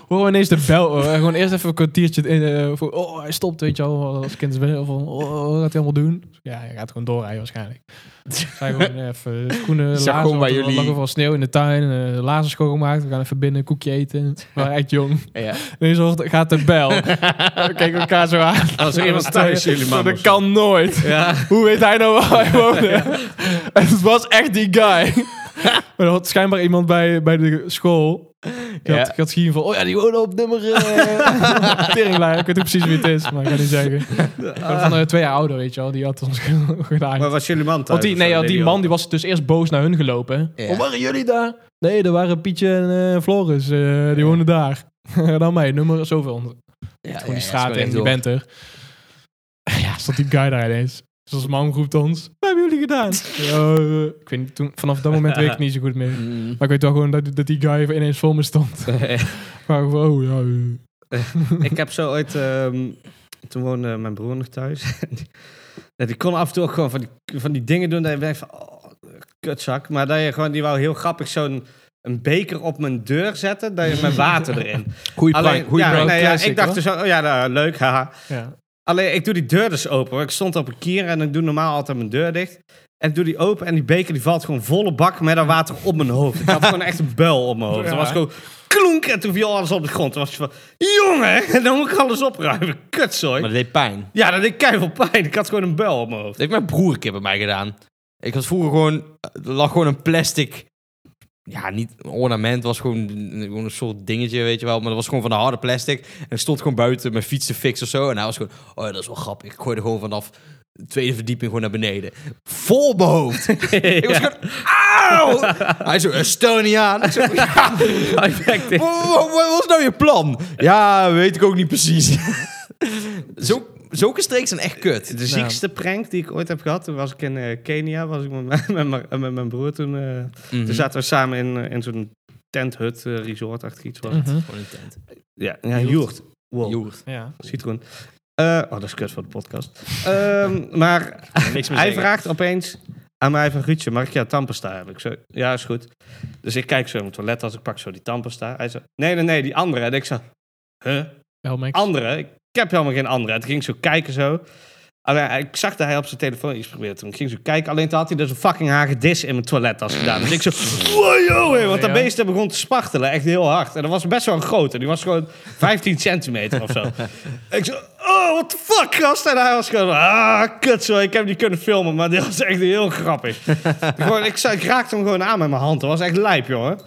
horen we ineens de bel. hoor. Gewoon eerst even een kwartiertje in. eh, voor, oh, hij stopt, weet je wel. Als kind is binnen. Of, van, oh, wat gaat hij allemaal doen? Ja, hij gaat gewoon doorrijden waarschijnlijk. Zijn gewoon even schoenen, Zag lazen. gewoon bij want er jullie- lag overal sneeuw in de tuin. eh, lazen schoongemaakt. We gaan even binnen, een koekje eten. We waren echt jong. Ja. Ineens hoort- gaat de bel. We kijken elkaar zo aan. eh, Als er iemand thuis jullie man. Dat kan nooit. Ja. Hoe weet hij nou waar hij woonde? En het was echt die guy. maar er had schijnbaar iemand bij, bij de school. Ik had, ik had gezien van, oh ja, die wonen op nummer... eh, Teringlijn. Ik weet niet precies wie het is, maar ik kan niet zeggen. Ah, Van eh, twee jaar ouder, weet je wel. Die had ons gedaan. maar was jullie man thuis? Want die, of zo? nee, ja, Deed die man die was dus eerst boos naar hun gelopen. Ja. Oh, waren jullie daar? Nee, er waren Pietje en eh, Floris. eh, die wonen daar. Dan mij, nummer zoveel. Gewoon Ja, die straat en je bent er. Ja, stond die guy daar ineens. Dus als man roept ons, wat hebben jullie gedaan? Ja, eh, ik weet niet, toen, vanaf dat moment weet ik het niet zo goed meer. Mhm. Maar ik weet wel gewoon dat, dat die guy ineens voor me stond. Maar gewoon, oh ja. eh. ik heb zo ooit... ehm, toen woonde mijn broer nog thuis. Ja, die kon af en toe ook gewoon van die, van die dingen doen. Dat je denkt van, oh, kutzak. Maar dat je gewoon, die wou heel grappig zo'n een beker op mijn deur zetten. Dat je met water erin. Goeie Alleen, prank, goeie ja, prank. nee, ja, Classic, ik dacht hoor. dus, ook, oh ja, nou, leuk, haha. Ja. Alleen, ik doe die deur dus open. hoor. Ik stond op een kier en ik doe normaal altijd mijn deur dicht. En ik doe die open en die beker die valt gewoon volle bak met dat water op mijn hoofd. Ik had gewoon echt een buil op mijn hoofd. Ja. Dat was gewoon klonk en toen viel alles op de grond. Toen was je van, jongen, dan moet ik alles opruimen. Kutzooi. Maar dat deed pijn. Ja, dat deed keihard pijn. Ik had gewoon een buil op mijn hoofd. Dat heeft mijn broer een keer bij mij gedaan. Ik had vroeger gewoon... Er lag gewoon een plastic... Ja, niet een ornament. was gewoon, gewoon een soort dingetje, weet je wel. Maar dat was gewoon van de harde plastic. En ik stond gewoon buiten mijn fiets te fixen of zo. En hij was gewoon... Oh ja, dat is wel grappig. Ik gooide gewoon vanaf de tweede verdieping gewoon naar beneden. Vol op mijn hoofd. Ik was gewoon... Auw! Hij zo... eh, Stel niet aan. Ik zo... Ja, Perfect. wat, wat- wat was nou je plan? Ja, weet ik ook niet precies. zo, zulke streeks zijn echt kut. De ziekste prank die ik ooit heb gehad, toen was ik in eh, Kenia, was ik met, mijn- met, mijn- met mijn broer toen. eh, Mhm. Toen zaten we samen in, eh, in zo'n tenthut, eh, resort, achter iets was. Mhm. Gewoon een tent. Ja, ja joert. Wow, Joert. ja. citroen. Eh, oh, dat is kut voor de podcast. Ehm, maar Niks meer hij zeggen. vraagt opeens aan mij van Ruudje, mag ik jouw tandpasta hebben? Ik zo, ja, is goed. Dus ik kijk zo in mijn toilet als ik pak zo die tandpasta. Hij zo, nee, nee, nee, die andere. En ik zo, huh? Helmex. andere. Ik heb helemaal geen andere. Het ging ik zo kijken zo. Alleen, ik zag dat hij op zijn telefoon iets probeerde toen. Ik ging zo kijken. Alleen toen had hij dus een fucking hagedis in mijn toilettas gedaan. Dus ik zo... Wow, yo, hé, want dat Ja. beest begon te spartelen. Echt heel hard. En dat was best wel een grote. Die was gewoon 15 centimeter of zo. ik zo... Oh, what the fuck, gast? En hij was gewoon... Ah, kut zo. Ik heb niet kunnen filmen. Maar dit was echt heel grappig. gewoon, ik, zei- ik raakte hem gewoon aan met mijn hand. Dat was echt lijp, jongen.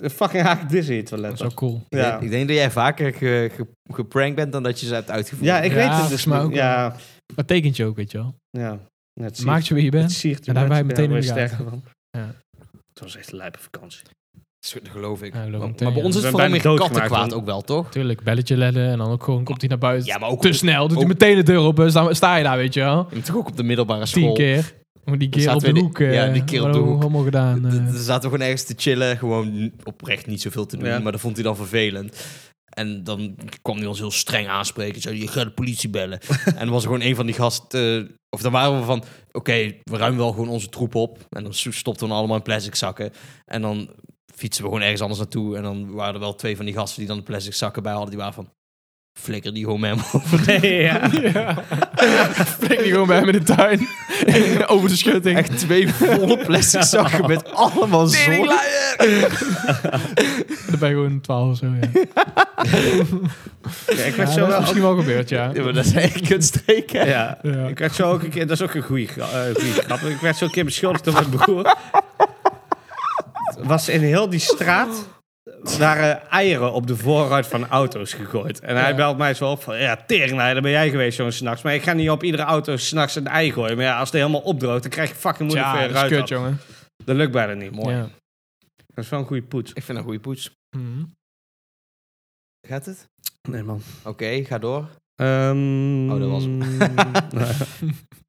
Een fucking hagedis in je Dat is toilettas. wel cool. Ik denk- Ik denk dat jij vaker ge- ge- geprankt bent dan dat je ze hebt uitgevoerd. Ja, ik Ja, weet het volgens dus. mij ook niet. Ja, Dat tekent je ook, weet je wel. Ja, het Maakt je wie je bent. siert En daar mensen, wij meteen ja, in de daar word je gaten. sterker van. Ja. Het was echt een lijpe vakantie. Dat geloof ik. Ja, geloof maar, ik maar bij meteen, ons ja. is het We zijn vooral meer bijna doodgemaakt, kattenkwaad man. ook wel, toch? Tuurlijk, belletje lellen en dan ook gewoon komt hij naar buiten. Ja, maar ook te op- snel, doet hij ook- meteen de deur op, eh, sta, sta je daar, weet je wel. Je moet toch ook op de middelbare Tien school. keer. Moet die keer zaten op we de die- hoek. eh, ja, die keer op de hadden we hoek. Allemaal gedaan. eh. Er zaten we gewoon ergens te chillen. Gewoon oprecht niet zoveel te doen. Ja. Maar dat vond hij dan vervelend. En dan kwam hij ons heel streng aanspreken. Zei, je gaat de politie bellen. en dan was er gewoon een van die gasten... eh, of dan waren we van... Oké, we ruimen wel gewoon onze troep op. En dan so- stopten we dan allemaal in plastic zakken. En dan fietsen we gewoon ergens anders naartoe. En dan waren er wel twee van die gasten die dan de plastic zakken bij hadden. Die waren van... Flikker die gewoon mee. ja. ja. Flik die gewoon bij hem in de tuin. Over de schutting. Echt twee volle plastic zakken met allemaal zon. Dan ben je gewoon 12 of zo. Ja. Ja, ik werd zo Ja, dat is wel... misschien wel gebeurd, ja. Ja, maar dat is echt kunststreken. ook- Ja. Ja. Ik werd zo ook een keer... Dat is ook een goeie, gra- eh, goeie grap. Ik werd zo een keer beschuldigd door mijn broer. was in heel die straat... waren eieren op de voorruit van auto's gegooid. En hij Ja. belt mij zo op van... Ja, teringlijn, daar ben jij geweest jongens s'nachts. Maar ik ga niet op iedere auto s'nachts een ei gooien. Maar ja, als die helemaal opdroogt... dan krijg je fucking moeilijk Ja, voor je dat is ruit kut, jongen. Dat lukt bijna niet. Mooi. Ja. Dat is wel een goede poets. Ik vind dat een goede poets. Mhm. Gaat het? Nee, man. Oké, ga door. Ehm, Oh, dat was hem. nou,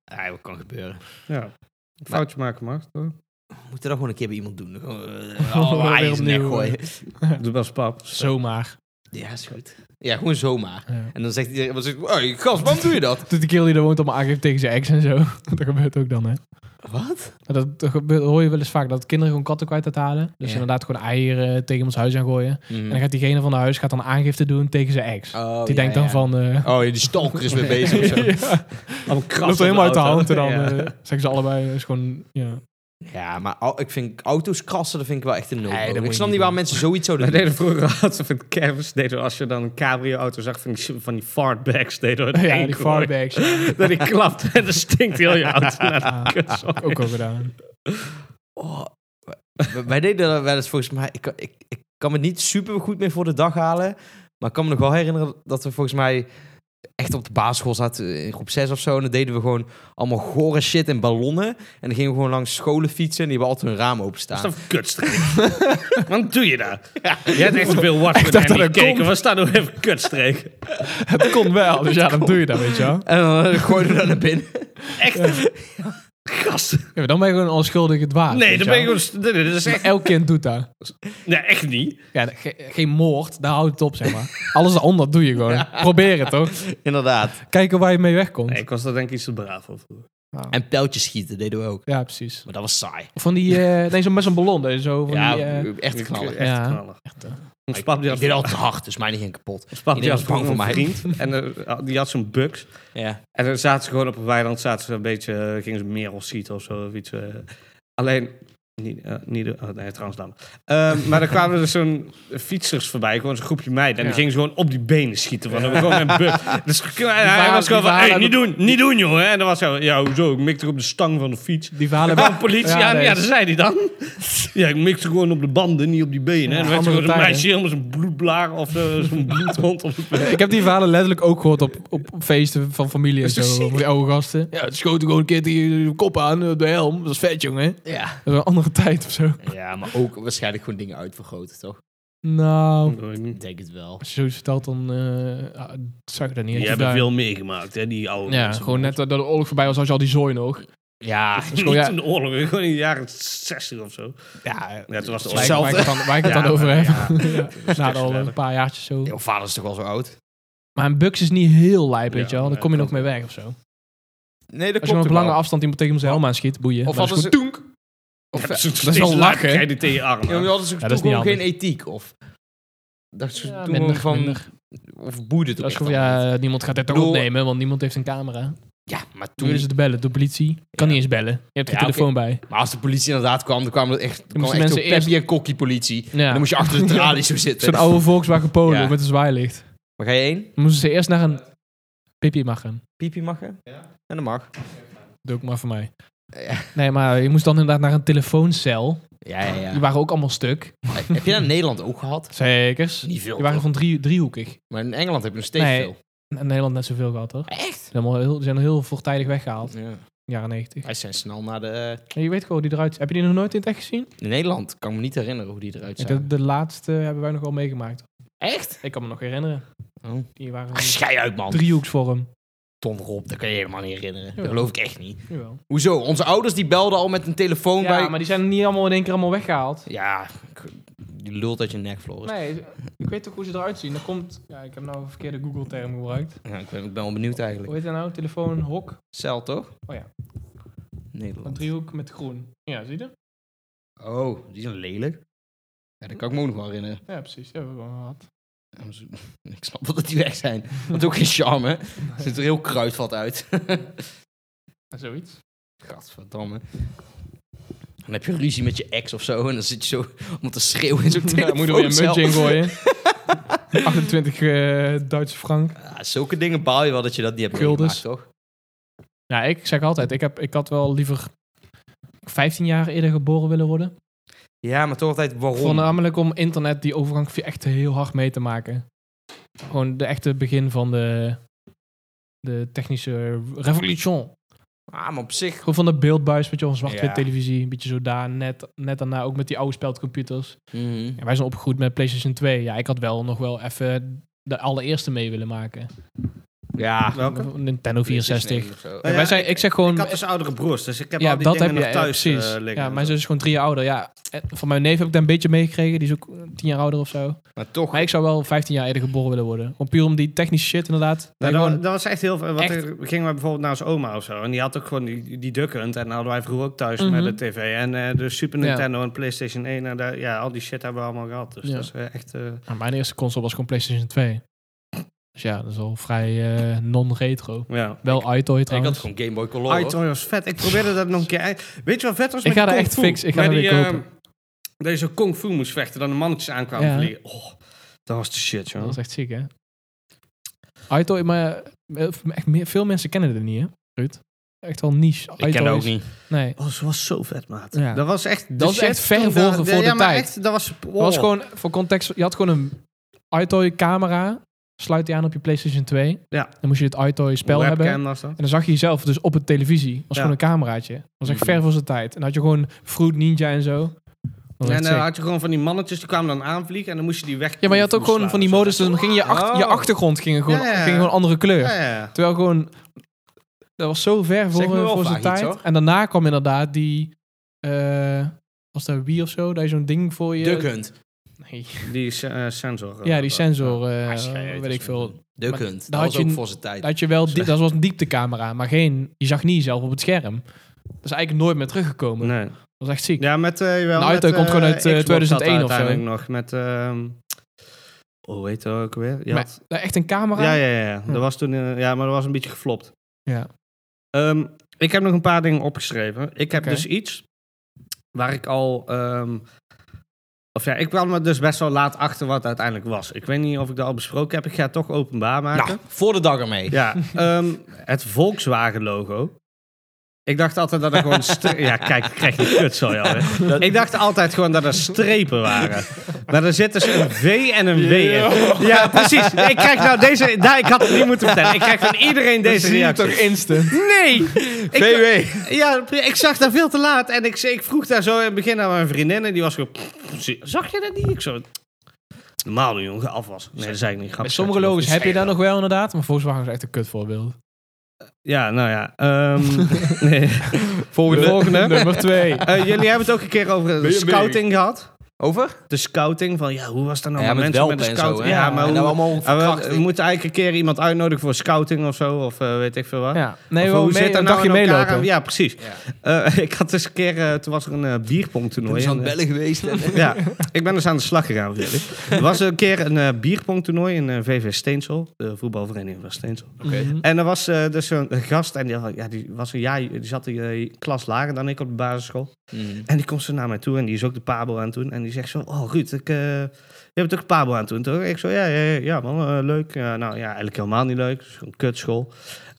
Ja, wat kan gebeuren. ja. Een Foutje maken mag, toch? We moeten dat gewoon een keer bij iemand doen. Gewoon, eh, Weer Oh, hij is nek opnieuw. gooien. Doe wel pap. Zomaar. Ja, is goed. Ja, gewoon zomaar. Ja. En dan zegt iedereen, wat zegt, hey, gast, waarom doe je dat? Doet die kerel die er woont allemaal aangeeft tegen zijn ex en zo. Dat gebeurt ook dan, hè. Wat? Maar Dat, dat gebeurt, hoor je wel eens vaak, dat kinderen gewoon katten kwijt halen. Dus Ja. inderdaad gewoon eieren tegen ons huis aan gooien. En dan gaat diegene van de huis gaat dan aangifte doen tegen zijn ex. die denkt dan van... eh Oh, ja, die stalker is weer Oh, bezig of zo. ja, Allemaal kras loopt op helemaal uit de auto. hand. En dan Ja. eh, zeggen ze allebei, is gewoon... Ja. Ja, maar au- ik vind auto's krassen, dat vind ik wel echt een nul. Nee, dat moet ik je snap niet niet waarom doen. mensen zoiets zouden Wij doen. deden vroeger altijd van kerst, deden we als je dan een cabrio-auto zag van die, van die fartbags, deden we het Ja, één die gooi. fartbags. Ja, Dat die klapt en dan stinkt heel je auto Nou, naar de kutzooi. ook al gedaan. Oh, wij- wij deden dat wel eens volgens mij. Ik, kan- ik, ik kan me niet super goed meer voor de dag halen. Maar ik kan me nog wel herinneren dat we volgens mij echt op de basisschool zaten in groep 6 of zo. En dan deden we gewoon allemaal gore shit in ballonnen. En dan gingen we gewoon langs scholen fietsen en die hebben altijd hun raam Dat is openstaan. toch kutstreek? Wat doe je daar? Je hebt echt veel wat Ik dacht met hem dat dat gekeken. kon. Wat staat nou even kutstreek? Het kon wel, dus ja, dan doe je dat, weet je wel. En dan eh, gooiden we dat naar binnen. Echt? Gast. Ja, maar dan ben je gewoon onschuldig het waard. Nee, Ah, weet dan je ben ik wel. gewoon... nee, nee, Dat is echt... Elk kind doet dat. Nee, echt niet. Ja, ge- geen moord, daar houdt het op, zeg maar. Alles daaronder doe je gewoon. Probeer het, toch? Inderdaad. Kijken waar je mee wegkomt. Nee, ik was daar denk ik iets te braaf over. En pijltjes schieten deden we ook. Ja, precies. Maar dat was saai. Van die, eh nee, zo met zo'n ballon. dat je Zo van Ja, die, eh, echt knallen. Echt Ja. knallen. eh. Ons pap die Ik had, deed altijd hard, dus mij niet ging kapot. ons pap die Iedereen had was bang voor een mij. vriend. En eh, die had zo'n buks. Ja. En dan zaten ze gewoon op een weiland, zaten ze een beetje, eh, gingen ze merel schieten of zo. Of iets, eh. Alleen, niet, eh, niet de, oh, nee, trouwens dan. Eh, maar dan kwamen er zo'n fietsers voorbij, gewoon zo'n groepje meiden. En die Ja. gingen ze gewoon op die benen schieten. Want dan was gewoon een bug. Dus hij waren- was gewoon die van, hey, waren- niet doen, niet doen jongen. En dan was hij, ja hoezo, ik mikte op de stang van de fiets. die verhalen Ja, politie, ja, ja, nee. dat zei hij dan. Ja, ik mikte gewoon op de banden, niet op die benen. Ja, en dan werd er andere gewoon een tijden. meisje helemaal zo'n bloedblaar of eh, zo'n bloedhond op het been. Ik heb die verhalen letterlijk ook gehoord op, op feesten van familie en Dat is toch zo. Van die oude gasten. Ja, het schoten gewoon een keer die kop aan eh, op de helm. Dat is vet, jongen. Ja. Dat is een andere tijd of zo. ja, maar ook waarschijnlijk gewoon dingen uitvergroten, toch? Nou, Dat weet Oh, ik niet. Ik denk het wel. als je zoiets vertelt, dan eh, ah, zag Die ik dat niet. Dat je hebben daar- veel meegemaakt, hè, die oude Ja, mensen. gewoon net dat de oorlog voorbij was, als je al die zooi nog. Ja, Dus gewoon, ja, Niet in de oorlog, gewoon in de jaren 60 of zo. eh, Ja, toen was het Wij- hetzelfde. Waar ik het dan, waar ik het Ja, dan over maar heb. ja. Ja. Na Stuk al verder. een paar jaartjes zo. jouw vader is toch wel zo oud? Maar een Bucks is niet heel lijp, weet Ja, je wel. Dan nee, kom je dat nog mee weg of zo. Nee, dat Als je op lange afstand iemand tegen zijn helm aanschiet, boeien. Of Maar hadden dat ze... is goed. Toenk! Of, Ja, ja, zo- is wel steeds lachen, lager hè? krijg je die tegen je ja, armen. maar hadden ze dat is toen niet gewoon geen handig. ethiek, of... Dat ze Ja, toen minder, gewoon van... minder. Of boeide het Dat is ook gewoon, echt allemaal niet. ja, eh, niemand gaat dit bedoel- opnemen, want niemand heeft een camera. ja, maar Toen toen... willen ze te bellen, door politie. Kan niet eens bellen. Je hebt geen Ja, telefoon bij. Maar als de politie inderdaad kwam, dan kwamen er echt... Dan kwam moesten echt zo'n mensen eerst- peppy en kokkie politie. En Ja. dan moest je achter de tralies zo zitten. Zo'n oude Volkswagen Polo Ja. met een zwaailicht. Maar ga je één? Dan moesten ze eerst naar een... Pippi mag hem. Pipi mag je? En dat mag. Doe ook maar voor mij. Ja. Nee, maar je moest dan inderdaad naar een telefooncel. Ja, ja, ja. Die waren ook allemaal stuk. Heb je dat in Nederland ook gehad? Zekers. Niet veel, Die waren toch? van drie, driehoekig. Maar in Engeland heb je nog steeds Nee. veel. In Nederland net zoveel gehad, hoor. Echt? Ze zijn allemaal heel, zijn heel voortijdig weggehaald. in Ja. de Jaren 90. Wij zijn snel naar de... En je weet gewoon hoe die eruit Heb je die nog nooit in het echt gezien? In Nederland kan ik me niet herinneren hoe die eruit Ja, zijn. de, de laatste hebben wij nog wel meegemaakt. Echt? Ik kan me nog herinneren. Oh. Die waren Ach, Schei uit, man. driehoeksvorm. Tom Rob, dat kan je helemaal niet herinneren. Dat Jawel. geloof ik echt niet. Jawel. Hoezo? Onze ouders die belden al met een telefoon Ja, bij... maar die zijn niet allemaal in één keer allemaal weggehaald. Ja, ik- die lult uit je nek, Floris. Nee, ik weet toch hoe ze eruit zien. Dan komt... Ja, ik heb nou een verkeerde Google-term gebruikt. Ja, ik, ben, ik ben wel benieuwd eigenlijk. Hoe heet dat nou? Telefoon, hok, Cel, toch? Oh ja. een Nederland. driehoek met groen. Ja, zie je? Oh, die zijn lelijk. Ja, dat kan ik me ook nog wel herinneren. Ja, precies. Die hebben we gewoon gehad. Ja, maar zo- Ik snap wel dat die weg zijn. Want ook geen charme. hè? Er zit er heel kruidvat uit. Zoiets. Gadverdamme. Dan heb je ruzie met je ex of zo. En dan zit je zo om te schreeuwen in zo'n Ja, telefooncel. moet er weer een muntje in gooien. 28 eh, Duitse frank. Ja, zulke dingen baal je wel dat je dat niet hebt Guldens. meegemaakt, toch? Ja, ik zeg altijd, ik, heb, ik had wel liever 15 jaar eerder geboren willen worden. Ja, maar toch altijd waarom? Voornamelijk om internet die overgang echt heel hard mee te maken. Gewoon de echte begin van de, de technische revolution. Ah, maar op zich... Gewoon van de beeldbuis, weet je wel, zwart-wit Ja. televisie. Een beetje zo daar, net, net daarna ook met die oude speldcomputers. Mhm. Ja, wij zijn opgegroeid met PlayStation 2. Ja, ik had wel nog wel even de allereerste mee willen maken. Ja. Nintendo 64. Of zo. Ja, wij zijn, ik zeg gewoon... Ik had dus oudere broers, dus ik heb ja, al die dat dingen heb je nog ja, thuis eh, precies. liggen. ja, mijn zus is gewoon drie jaar ouder. Ja, eh, van mijn neef heb ik daar een beetje meegekregen. Die is ook eh, tien jaar ouder of zo. Maar toch... Maar ik zou wel 15 jaar eerder geboren willen worden. Om puur om die technische shit inderdaad. Nou, Ja, dat, gewoon- dat was echt heel veel. Want Echt. er gingen we bijvoorbeeld naar zijn oma of zo. En die had ook gewoon die, die Duck Hunt. En dan hadden wij vroeger ook thuis Mhm. met de tv. En eh, de Super Ja. Nintendo en PlayStation 1. En daar, ja, al die shit hebben we allemaal gehad. Dus Ja. dat is eh, echt... eh, Nou, mijn eerste console was gewoon PlayStation 2. Dus ja, dat is al vrij eh, non-retro. ja. Wel iToy Ik had trouwens. gewoon Game Boy Color. hoor. iToy was vet. Ik probeerde dat nog een keer. Weet je wat vet was Ik met ga er Kung echt Fu? fix- ik ga Met er weer die, eh, kopen. Dat je zo Kung Fu moest vechten. Dan de mannetjes aankwamen Ja. vliegen. Oh, dat was de shit, dat joh. is echt ziek, hè? iToy, maar eh, echt meer, veel mensen kennen het niet, hè? Ruud? echt wel niche Ik ken dat ook idols. niet. Nee. Oh, ze was zo vet, maat. Ja. Dat was echt... de Dat is shit echt ver toen voor- daar- voor ja, de maar tijd. Echt, dat was... Dat was oh. gewoon, voor context, je had gewoon een iToy camera. Sluit die aan op je PlayStation 2. Ja. Dan moest je het iToy spel Webcam hebben. was dat. En dan zag je jezelf dus op het televisie. was Ja. gewoon een cameraatje. Dat was echt Mhm. ver voor zijn tijd. En dan had je gewoon Fruit Ninja en zo. Dat was En echt dan sick. had je gewoon van die mannetjes, die kwamen dan aanvliegen en dan moest je die weg... ja, maar je had ook gewoon van die verslaan of modus. zo. Dus dan ging je, achter, je Oh. achtergrond ging gewoon, Ja, ja, ja. Ging gewoon andere kleur. Ja, ja, ja. Terwijl gewoon... Dat was zo ver voor, Zeg me wel voor zijn vaak iets, tijd. hoor. en daarna kwam inderdaad die... eh, was dat Wii of zo? Dat je zo'n ding voor je... Duck Hunt. Nee. Die eh, sensor. eh, Ja, die dat. sensor, eh, Ah, schijt, dat weet is ik veel. een- Duck Maar Hunt. daar Dat had was je ook een- voor zijn tijd. Dat, je wel, di- Slecht. dat was een dieptecamera, maar geen, je zag niet jezelf op het scherm. Dat is eigenlijk nooit meer teruggekomen. Nee. Dat was echt ziek. Ja, met... eh wel, eh, Nou, met, Auto komt eh, gewoon uit, Xbox eh, had 2001 of zo. uiteindelijk nog met... ehm oh, weet je ook weer? Je Maar- had- Nou, echt een camera? ja, ja, ja. ja. Hm. Dat was toen... eh, ja, maar dat was een beetje geflopt. Ja. Ehm, ik heb nog een paar dingen opgeschreven. Ik heb Oké. dus iets waar ik al... ehm, of ja, ik kwam er dus best wel laat achter wat het uiteindelijk was. Ik weet niet of ik dat al besproken heb. Ik ga het toch openbaar maken. Nou, voor de dag ermee. Ja, ehm, het Volkswagen-logo. Ik dacht altijd dat er gewoon... stre- ja, kijk, ik krijg je kut zo, Dat- Ik dacht altijd gewoon dat er strepen waren. Maar er zit dus een V en een W in. Ja, precies. Ik krijg nou deze... Nou, ik had het niet moeten vertellen. Ik krijg van iedereen deze zie je reactie. toch instant? Nee! Ik- VW. ja, ik zag daar veel te laat. En ik, ik vroeg daar zo in het begin aan mijn vriendin. En die was gewoon... Zag je dat niet? Ik zo... Normaal doen, jongen. Afwas. Nee, dat zei ik niet. Met Grappig. sommige Dat logo's is heb je echt- daar nog wel inderdaad, maar Volkswagen is echt een kutvoorbeeld. Ja, nou ja. ehm, nee. Volgende. Volgende. Nummer twee. Eh, jullie hebben het ook een keer over de Ben je mee? scouting gehad. Over? De scouting, van ja, hoe was dat nou Ja, met met mensen met welpen de en zo. scouting? hè? Ja, maar En hoe, dan allemaal Ah, we, we verkrachting. moeten eigenlijk een keer iemand uitnodigen voor scouting of zo, of eh, weet ik veel wat. Ja. Nee, Of wel hoe mee, zit dat een nou dagje in elkaar? meelopen. Ja, precies. Ja. Eh, ik had dus een keer, eh, toen was er een eh, Toen bierpongtoernooi. is dus aan en, het eh, bellen geweest. en- ja, ik ben dus aan de slag gegaan voor jullie. Er was een keer een eh bierpongtoernooi in eh, VV Steensel, de voetbalvereniging van Steensel. Mhm. En er was eh, dus een gast, en die, had- ja, die, was een jaar, die zat een eh, klas lager dan ik op de basisschool. Mm. En die komt zo naar mij toe en die is ook de Pabo aan het doen. En die zegt zo, oh Ruud, ik, eh, je hebt ook de Pabo aan het doen, toch? Ik zo, ja, ja, ja, ja man, eh, leuk. Ja, nou ja, eigenlijk helemaal niet leuk. Het is een kutschool.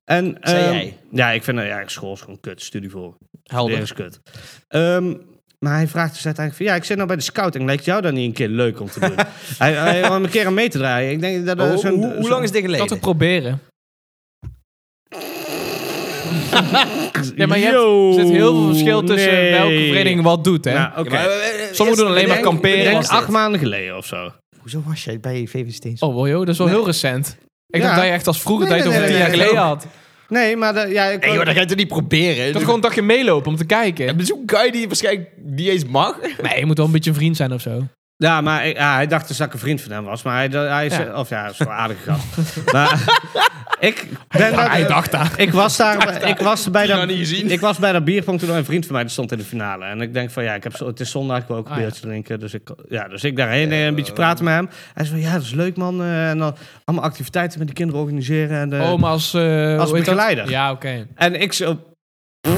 En, Zei ehm, jij? Ja, ik vind, eh, ja, school is gewoon kut, studie voor. Weer Helder. is kut. Ehm, maar hij vraagt dus uiteindelijk van... Ja, ik zit nou bij de scouting. Lijkt jou dan niet een keer leuk om te doen? hij, hij, om een keer aan mee te draaien. Ik denk dat... eh, Oh, zo'n- hoe, hoe zo'n- lang is dit Ik had geleden? het proberen. Ja, maar je hebt, Yo, er zit heel veel verschil tussen nee. welke vereniging wat doet, hè? Nou, oké. Ja, maar, eh, eh, Sommigen doen alleen maar bedenk- kamperen. Ik bedenk- denk was dit? acht maanden geleden of zo. Hoezo was jij bij VV Steens? Oh, wow, joh, dat is wel heel recent. Ik Ja. dacht dat je echt als vroeger Nee, tijd nee, over nee, tien nee, jaar nee, geleden nee. had. Nee, maar de- ja, ik... Nee, joh, dat ga je toch niet proberen? Dat gewoon een dagje meelopen om te kijken. En bezoek guy die waarschijnlijk niet eens mag. Nee, je moet wel een beetje een vriend zijn of zo. Ja, maar ik- ja, hij dacht dus dat ik een vriend van hem was. Maar hij, hij is... Ja. Of ja, hij is wel aardig gast. maar ik ben... daar- Hij dacht dat. Ik was daar... Ik was bij Dat dat... niet gezien. Ik was bij dat bierpong toen een vriend van mij die stond in de finale. En ik denk van ja, ik heb, zo- het is zondag, ik wil ook een Ah, ja. biertje drinken. Dus ik, ja, dus ik daarheen eh, een beetje praten met hem. Hij zei van ja, dat is leuk man. eh, en dan allemaal activiteiten met de kinderen organiseren. En, eh, Oh, maar als... eh, Als hoe heet dat? begeleider. Ja, oké. en ik zo... "Pff,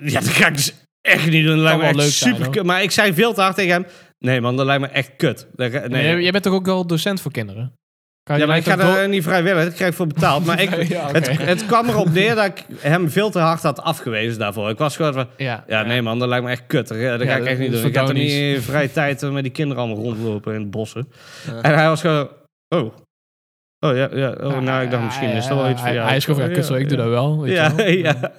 ja, dat ga ik dus echt niet doen. Dat lijkt me wel echt leuk zijn, super hoor. kut. Maar ik zei veel te hard tegen hem. Nee man, dat lijkt me echt kut. Dat ga- Nee. nee. jij- Jij bent toch ook wel docent voor kinderen? Kan je ja, maar ik lijkt ga ook daar niet vrijwillig. Dat krijg ik voor betaald. Maar ik, Ja, oké. het, het kwam erop neer dat ik hem veel te hard had afgewezen daarvoor. Ik was gewoon van... wel- Ja, Ja, nee man, dat lijkt me echt kut. Dat ga Ja, ik echt niet dat is doen. Ik ga toch niet verdoonisch. in vrije tijd eh, met die kinderen allemaal rondlopen in de bossen. Ja. En hij was gewoon... Oh. Oh ja, ja. Oh, Ja, nou, ik dacht ja, misschien ja, is dat wel Ah, ja, iets voor hij- jou. Hij is gewoon van, ja, kut, zo, ik doe dat wel. weet Ja, je wel. ja.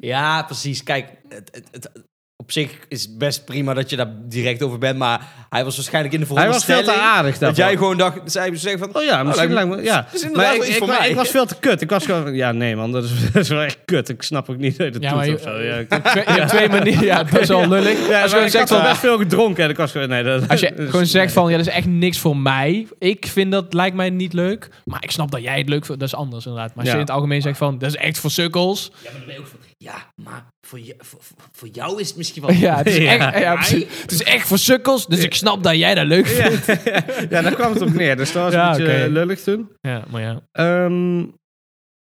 Ja, precies. Kijk, het, het, het- op zich is best prima dat je daar direct over bent, maar hij was waarschijnlijk in de Hij was veel veronderstelling te aardig dat daarvoor. jij gewoon dacht, zij zeggen van, Oh ja, misschien lijkt lijkt me... Ja. is inderdaad Maar wel ik, iets ik, voor wa- mij. ik was veel te kut. Ik was gewoon... van, Ja, nee man, dat is, dat is wel echt kut. Ik snap ook niet dat je dat Ja, doet maar je- of zo. Ja, ik- Twee- Je hebt twee manieren. Ja, dat is al lullig. Ja, als je maar gewoon ik had zegt wel Dus, eh. van... best veel gedronken en ik was gewoon... Nee, dat, Als je dat is- gewoon zegt van, ja, dat is echt niks voor mij. Ik vind dat, lijkt mij niet leuk. Maar ik snap dat jij het leuk vindt. Dat is anders inderdaad. Maar als Ja. je in het algemeen zegt van, dat is echt voor sukkels. ja, maar, dan ben je ook van, ja, maar voor, je, voor, voor- voor jou is het misschien wel... Ja, het is, Ja. Echt, ja, precies. Het is echt voor sukkels. Dus ik snap dat jij dat leuk vindt. Ja, daar kwam het op neer. Dus dat was Ja, een beetje oké. eh, lullig toen. Ja, maar ja. Ehm,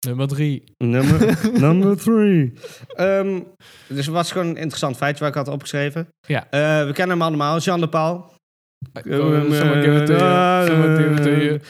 Nummer drie. Nummer, number three. Ehm, dus het was gewoon een interessant feitje waar ik had opgeschreven. Ja. Eh, we kennen hem allemaal, Jean de Paul. Someone give it to you. Someone give it to you.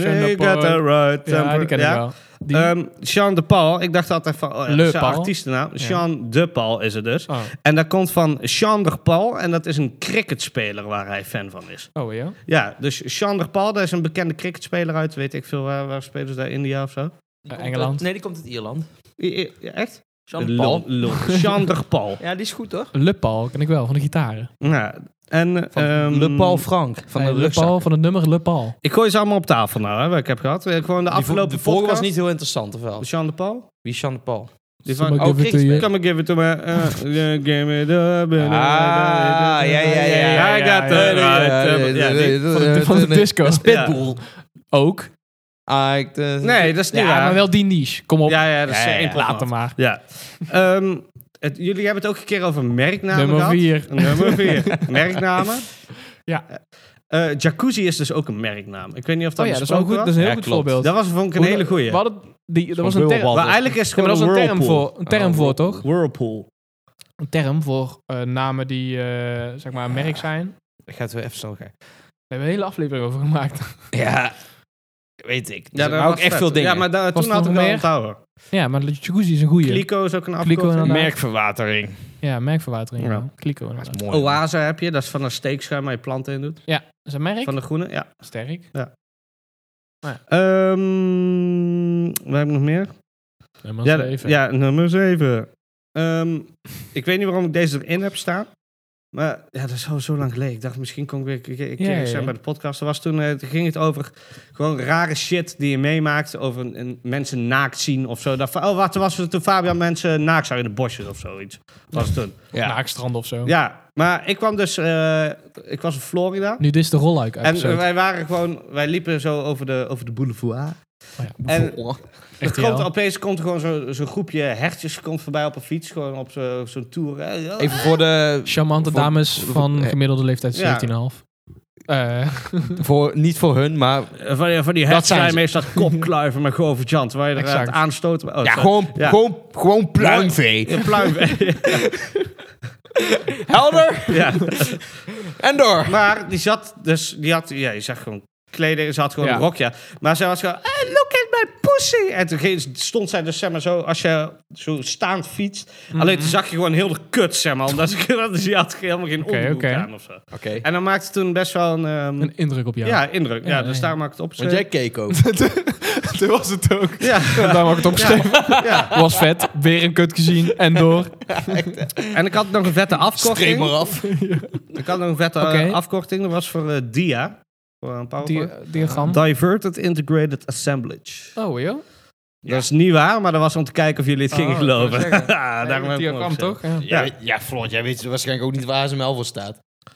Sean You de Paul. got the right Ja, temper. die ken ik Ja. wel. Die, Ehm, Sean de Paul, ik dacht altijd van oh, ja, Le dat is zijn Paul. artiestennaam. Ja. Sean de Paul is het dus. oh. En dat komt van Sean de Paul en dat is een cricketspeler waar hij fan van is. oh, ja? Ja, dus Sean de Paul, dat is een bekende cricketspeler uit, weet ik veel, waar, waar spelen ze daar, India of zo? Die komt Engeland. uit- nee, die komt uit Ierland. I- I- Echt? Jean Paul. Lul, lul. Sean de Paul. Ja, die is goed hoor. Le Paul ken ik wel, van de gitaren. Nou, en, Van ehm, Le Paul Frank. Van Nee, de Le rugzak. Paul, van het nummer Le Paul. Ik gooi ze allemaal op tafel nou, hè, wat ik heb gehad. Eh, Gewoon de Die vo- afgelopen de vorige was podcast. niet heel interessant, of wel? Sean de Paul? Wie is Jean de Paul? Die Sommige van... oh, give it to you. Come and give it to me. eh, eh, give me the... Ah, ja, Ah, ja, ja. I got the right... eh, ja, die- Van de- van de disco. Pitbull. Ook. Nee, dat is niet Ja, waar. maar wel die niche. Kom op, Ja, ja, dat is Ja, ja, één ja. plaat. later maar. Ja. Ehm, het, jullie hebben het ook een keer over merknamen Nummer gehad. 4. Nummer vier. merknamen. Ja. Eh, jacuzzi is dus ook een merknaam. Ik weet niet of dat Oh ja, dat is wel besproken goed. Dat is een heel Ja, goed klopt. voorbeeld. was. Dat was vond ik een hele goeie. We hadden die, dat was een Zo'n term. bubbelbad. Maar eigenlijk is het Ja, maar gewoon dat was een term whirlpool. voor, een term Oh, voor whirlpool. toch? Whirlpool. Een term voor eh, namen die eh, zeg maar een merk zijn. Daar Gaat weer even snel gaan. hebben we een hele aflevering over gemaakt. Ja, weet ik. Ja, Ja, dat maar ook was echt vet. veel dingen. Ja, maar da- toen had er nog ik wel meer? onthouden. ja, maar de jacuzzi is een goeie. Clico is ook een Clico afkorting. inderdaad. Merkverwatering. Ja, merkverwatering. Ja. Ja. Kliko inderdaad. Dat is mooi. Oase heb je, dat is van een steekschuim waar je planten in doet. Ja, is dat merk? Van de groene, ja. Sterk. Ehm wat heb ik nog meer? Nummer Ja, zeven. ja, nummer 7. Ehm, ik weet niet waarom ik deze erin heb staan. Maar ja, dat is al zo lang geleden. Ik dacht, misschien kon ik weer een keer- een keer Ja, ja, iets zeggen ja. bij de podcast. Er was toen, eh, toen ging het over gewoon rare shit die je meemaakt. Over een, een- mensen naakt zien of zo. Dat, van, oh, wat was het toen Fabian mensen naakt zag in de bosjes of zoiets? Was het toen. Ja. Naakstrand of zo. Ja, maar ik kwam dus... eh, ik was in Florida. Nu dit is de rolluik En episode. wij waren gewoon... Wij liepen zo over de, over de boulevard. Oh ja. En Echt er komt, heel. opeens komt er gewoon zo- zo'n groepje hertjes komt voorbij op een fiets. Gewoon op zo- zo'n tour. Eh, Even voor de... Charmante Voor- dames voor- van eh, gemiddelde leeftijd 17,5. Ja. Eh, Voor, niet voor hun, maar... Eh, Van, die- van die Dat zijn hertjes ze. meestal kopkluiven met goverjant. Waar je er aan Exact. het aanstoten... Oh, ja, sorry. gewoon, Ja. gewoon, gewoon pluimvee. Ja, pluim. Helder ja. en door. Maar die zat dus... Die had, ja, je zag gewoon kleding. Ze had gewoon Ja. een rokje. Maar ze was gewoon... "Eh, look at my pussy! En toen ging- stond zij dus zeg maar zo... Als je zo staand fietst. Alleen toen zag je gewoon heel de kut zeg maar. Omdat ze, ze had helemaal geen Oké, onderbroek oké. aan of zo. Oké. En dan maakte toen best wel een... ehm, een indruk op jou. Ja, indruk. Ja, Ja, dus ja. daar maakt het op. Want jij keek ook. dat was het ook. Ja, Daarom heb ik het opgeschreven. ja. Was vet. Weer een kut gezien. En door. En ik had nog een vette Streep maar afkorting. af. Ik had nog een vette eh, Oké. afkorting. Dat was voor eh, DIA. Voor een PowerPoint. Die, diagram. Diverted Integrated Assemblage. Oh, joh. Dat is niet waar, maar dat was om te kijken of jullie het gingen Oh, geloven. ik wou zeggen. Daarom heb ik hem diagram opgezet. toch? Ja. Ja. Ja, ja Flor, jij weet waarschijnlijk ook niet waar ASML voor staat. Dat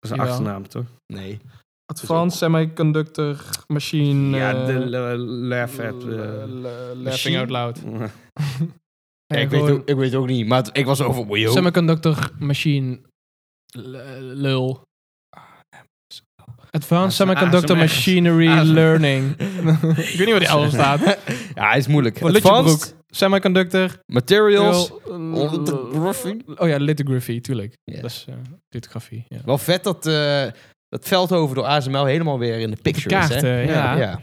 is een Jawel. achternaam, toch? Nee. Advanced Semiconductor Machine. ja, eh, de le- laugh app. l- eh. l- Laughing machine. out loud. Ja, En ik, weet gewoon ook, ik weet ook niet, maar het- ik was over moe, joh. Semiconductor Machine. l- Lul. Advanced ASMR. Semiconductor Machinery ASMR. Learning. ik weet niet waar die L staat. Ja, hij is moeilijk. Voor Advanced Lutjebroek. Semiconductor. materials. Lul- Lithography. Oh ja, lithography, tuurlijk. Ja. Dat is eh, lithografie. Ja. Wel vet dat, eh dat Veldhoven door ASML helemaal weer in de picture is, hè? Kaarten, eh, ja. Ja.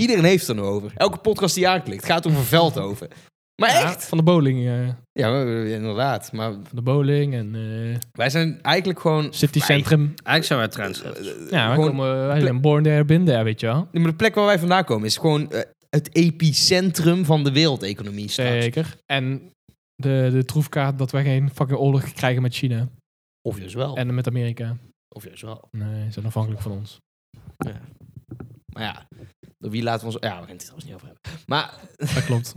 Iedereen heeft het er nu over. Elke podcast die je aanklikt gaat over Veldhoven. Maar Ja, echt? Van de bowling. eh, Ja, maar, eh, inderdaad. Maar van de bowling en eh wij zijn eigenlijk gewoon... eh, City Centrum. Eigenlijk zijn wij trendsetters. Ja, wij, gewoon- komen, wij zijn born there, been there, weet je wel. Nee, maar de plek waar wij vandaan komen is gewoon eh, het epicentrum van de wereldeconomie straks. Zeker. En de, de troefkaart dat wij geen fucking oorlog krijgen met China. Of juist wel. En met Amerika. Of juist wel. Nee, ze zijn afhankelijk van ons. Maar ja, door wie laten we ons... Ja, we gaan het er trouwens niet over hebben. Maar Dat klopt.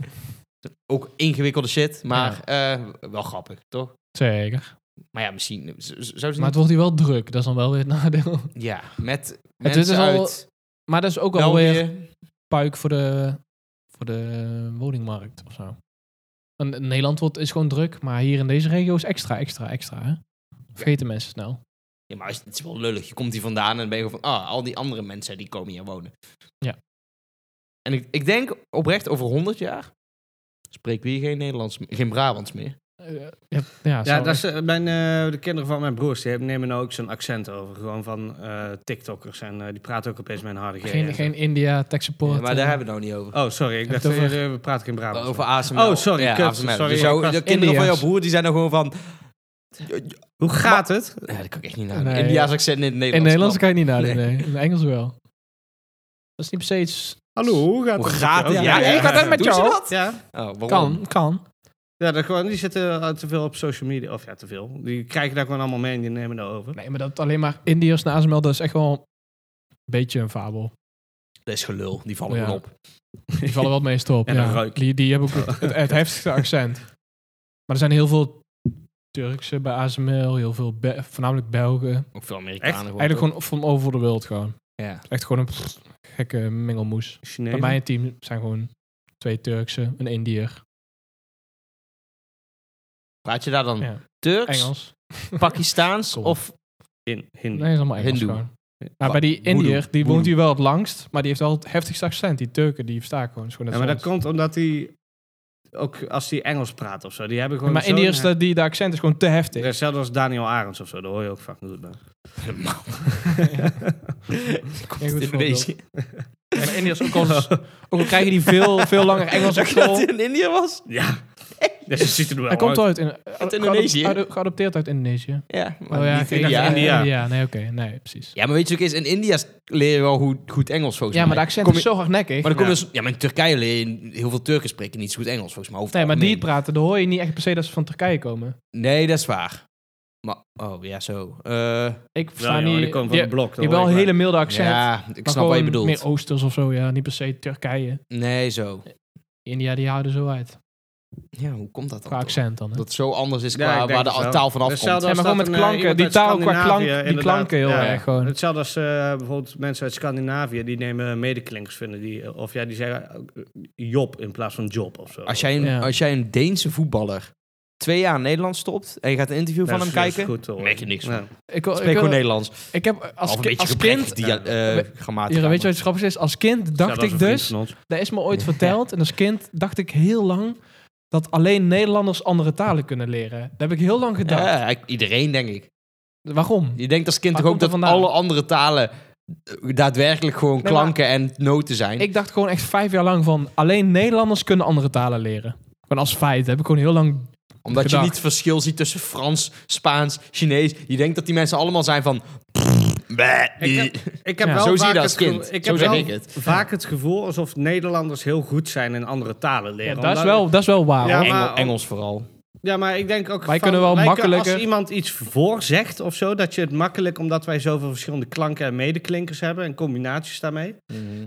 ook ingewikkelde shit, maar eh, wel grappig, toch? Zeker. Maar ja, misschien... z- z- Zou ze Maar het wordt hier wel druk. Dat is dan wel weer het nadeel. niet- Ja, met Het mensen is al- uit Maar dat is ook België. alweer puik voor de, voor de woningmarkt of zo. En in Nederland wordt, is gewoon druk, maar hier in deze regio is extra, extra, extra. Hè? Vergeten mensen snel. Ja, maar als- het is wel lullig. Je komt hier vandaan en dan ben je gewoon van... Ah, al die andere mensen die komen hier wonen. Ja. En ik, ik denk oprecht over 100 jaar... Spreekt we hier geen Nederlands, geen Brabants meer. eh, ja, ja, Ja, zo- dat is, eh, mijn, eh, de kinderen van mijn broers die hebben, nemen nou ook zo'n accent over. Gewoon van eh, TikTokkers. En eh, die praten ook opeens met een harde G. geen, geen India tech support. Ja, maar daar eh, hebben we het nou niet over. Oh, sorry. Ik Heb dacht, het over... we praten geen Brabant. Over ASML. Oh, sorry, Ja, kut, ASML. sorry. Dus jou- Ik was- de kinderen van jouw Indiërs. broer die zijn dan gewoon van... Hoe gaat het? Ja, dat kan ik echt niet nadoen. Nee. India's accent in het Nederlands. in Nederlands kan je niet nadoen, Nee. nee. In Engels wel. Dat is niet per se iets... Hallo, hoe gaat Hoe het? gaat het? Oh, Ja, ik had het met Doen ze jou. dat? Ja. Oh, waarom? Kan, kan. Ja, dat gewoon, die zitten eh, te veel op social media. Of ja, te veel. Die krijgen daar gewoon allemaal mee en die nemen dat over. Nee, maar dat alleen maar Indiërs naar ASML, dat is echt wel een beetje een fabel. Dat is gelul. Die vallen Ja. gewoon op. Die vallen wel het meest op. En ja. een ruik. Die, die hebben ook het, het, het heftigste accent. Maar er zijn heel veel Turkse bij ASML, heel veel Be- voornamelijk Belgen. Ook veel Amerikanen Echt? gewoon. Eigenlijk gewoon van over de wereld gewoon. Ja. Echt gewoon een pff, gekke mengelmoes. Chinezen. Bij mijn team zijn gewoon twee Turkse, een Indiër, Praat je daar dan Ja. Turks, Engels. Pakistaans Kom. of... In, Hindi. Nee, is allemaal Engels Hindoe. gewoon. Wa- Maar bij die Voodoo. Indiër, die woont Voodoo. hier wel het langst, maar die heeft wel het heftigste accent. Die Turken, die versta ik gewoon. Is gewoon Ja, net maar dat zoals- komt omdat die... Ook als die Engels praat of zo. Die hebben gewoon maar zo'n- Indiërs, dat die, de accent is gewoon te heftig. Ja, Hetzelfde als Daniel Arends of zo. Daar hoor je ook vaak. Doe het maar. Komt Ja, goed uit Indonesië. Ja, maar Indiërs ook al, ook al krijgen die veel, veel langer Engels op Zag je dat school. hij in India was? Ja. Dus je ziet er wel Hij komt uit. uit, in, geadop- Indonesië? geado- geadopteerd uit Indonesië. Ja, maar Oh ja, niet ik dacht India. India. Ja, nee, oké. Nee, precies. Ja, maar weet je ook eens, in India leren we wel hoe, goed Engels volgens Ja, mij. maar de accent Kom is je- zo hardnekkig. Maar dan kom Ja. je dus- ja, maar in Turkije leer je, heel veel Turken spreken niet zo goed Engels volgens mij. over het Nee, maar die het algemeen. praten, dan hoor je niet echt per se dat ze van Turkije komen. Nee, dat is waar. Maar, oh ja, zo. Eh, Ik Ja, versta jongen, niet... die komt van die- het blok. dat die hoor wel ik een hele milde accent. ja, ik maar snap wat je gewoon bedoelt. Meer Oosters of zo, ja. Niet per se Turkije. Nee, zo. India, die houden zo uit. Ja, hoe komt dat dan? Qua toch? accent dan, hè. Dat het zo anders is Ja, qua ik denk waar de het wel. taal vanaf komt. Hetzelfde Ja, maar als gewoon dat met een, eh, klanken. iemand Die uit taal qua klank, Scandinavië, die inderdaad. klanken heel Ja, ja. erg gewoon. Hetzelfde als eh, bijvoorbeeld mensen uit Scandinavië, die nemen medeklinkers vinden die, of ja, die zeggen eh, Job in plaats van Job of zo. Als jij, een, Ja. als jij een Deense voetballer twee jaar in Nederland stopt en je gaat een interview van hem kijken, merk merk je niks Ja. Ik, wil- ik, spreek wil- gewoon Nederlands. ik heb Als, als, een ki- beetje als gebrekkig kind... dia- eh, We- grammatica. Ja, weet je maar- wat het grappig is? Als kind dacht ik dus... Dat is me ooit verteld. En als kind dacht ik heel lang dat alleen Nederlanders andere talen kunnen leren. Dat heb ik heel lang gedacht. Ja, ik- iedereen, denk ik. Waarom? Je denkt als kind Waar toch ook komt dat dat vandaan? alle andere talen eh, daadwerkelijk gewoon maar- klanken en noten zijn. Ik dacht gewoon echt vijf jaar lang van alleen Nederlanders kunnen andere talen leren. Gewoon als feit. Dat heb ik gewoon heel lang. Omdat je gedacht. niet het verschil ziet tussen Frans, Spaans, Chinees. Je denkt dat die mensen allemaal zijn van... bleh, Ik heb, die- ik heb Ja. wel Zo zie je vaak dat als het gevo- kind. Ik Zo heb zeg wel ik het. vaak het gevoel alsof Nederlanders heel goed zijn in andere talen Ja, leren. dat, is Omdat- wel, dat is wel waar. Ja, hoor. maar- Engel- Engels vooral. Ja, maar ik denk ook. Wij van- kunnen wel makkelijker- Als iemand iets voorzegt of zo, dat je het makkelijk, omdat wij zoveel verschillende klanken en medeklinkers hebben en combinaties daarmee,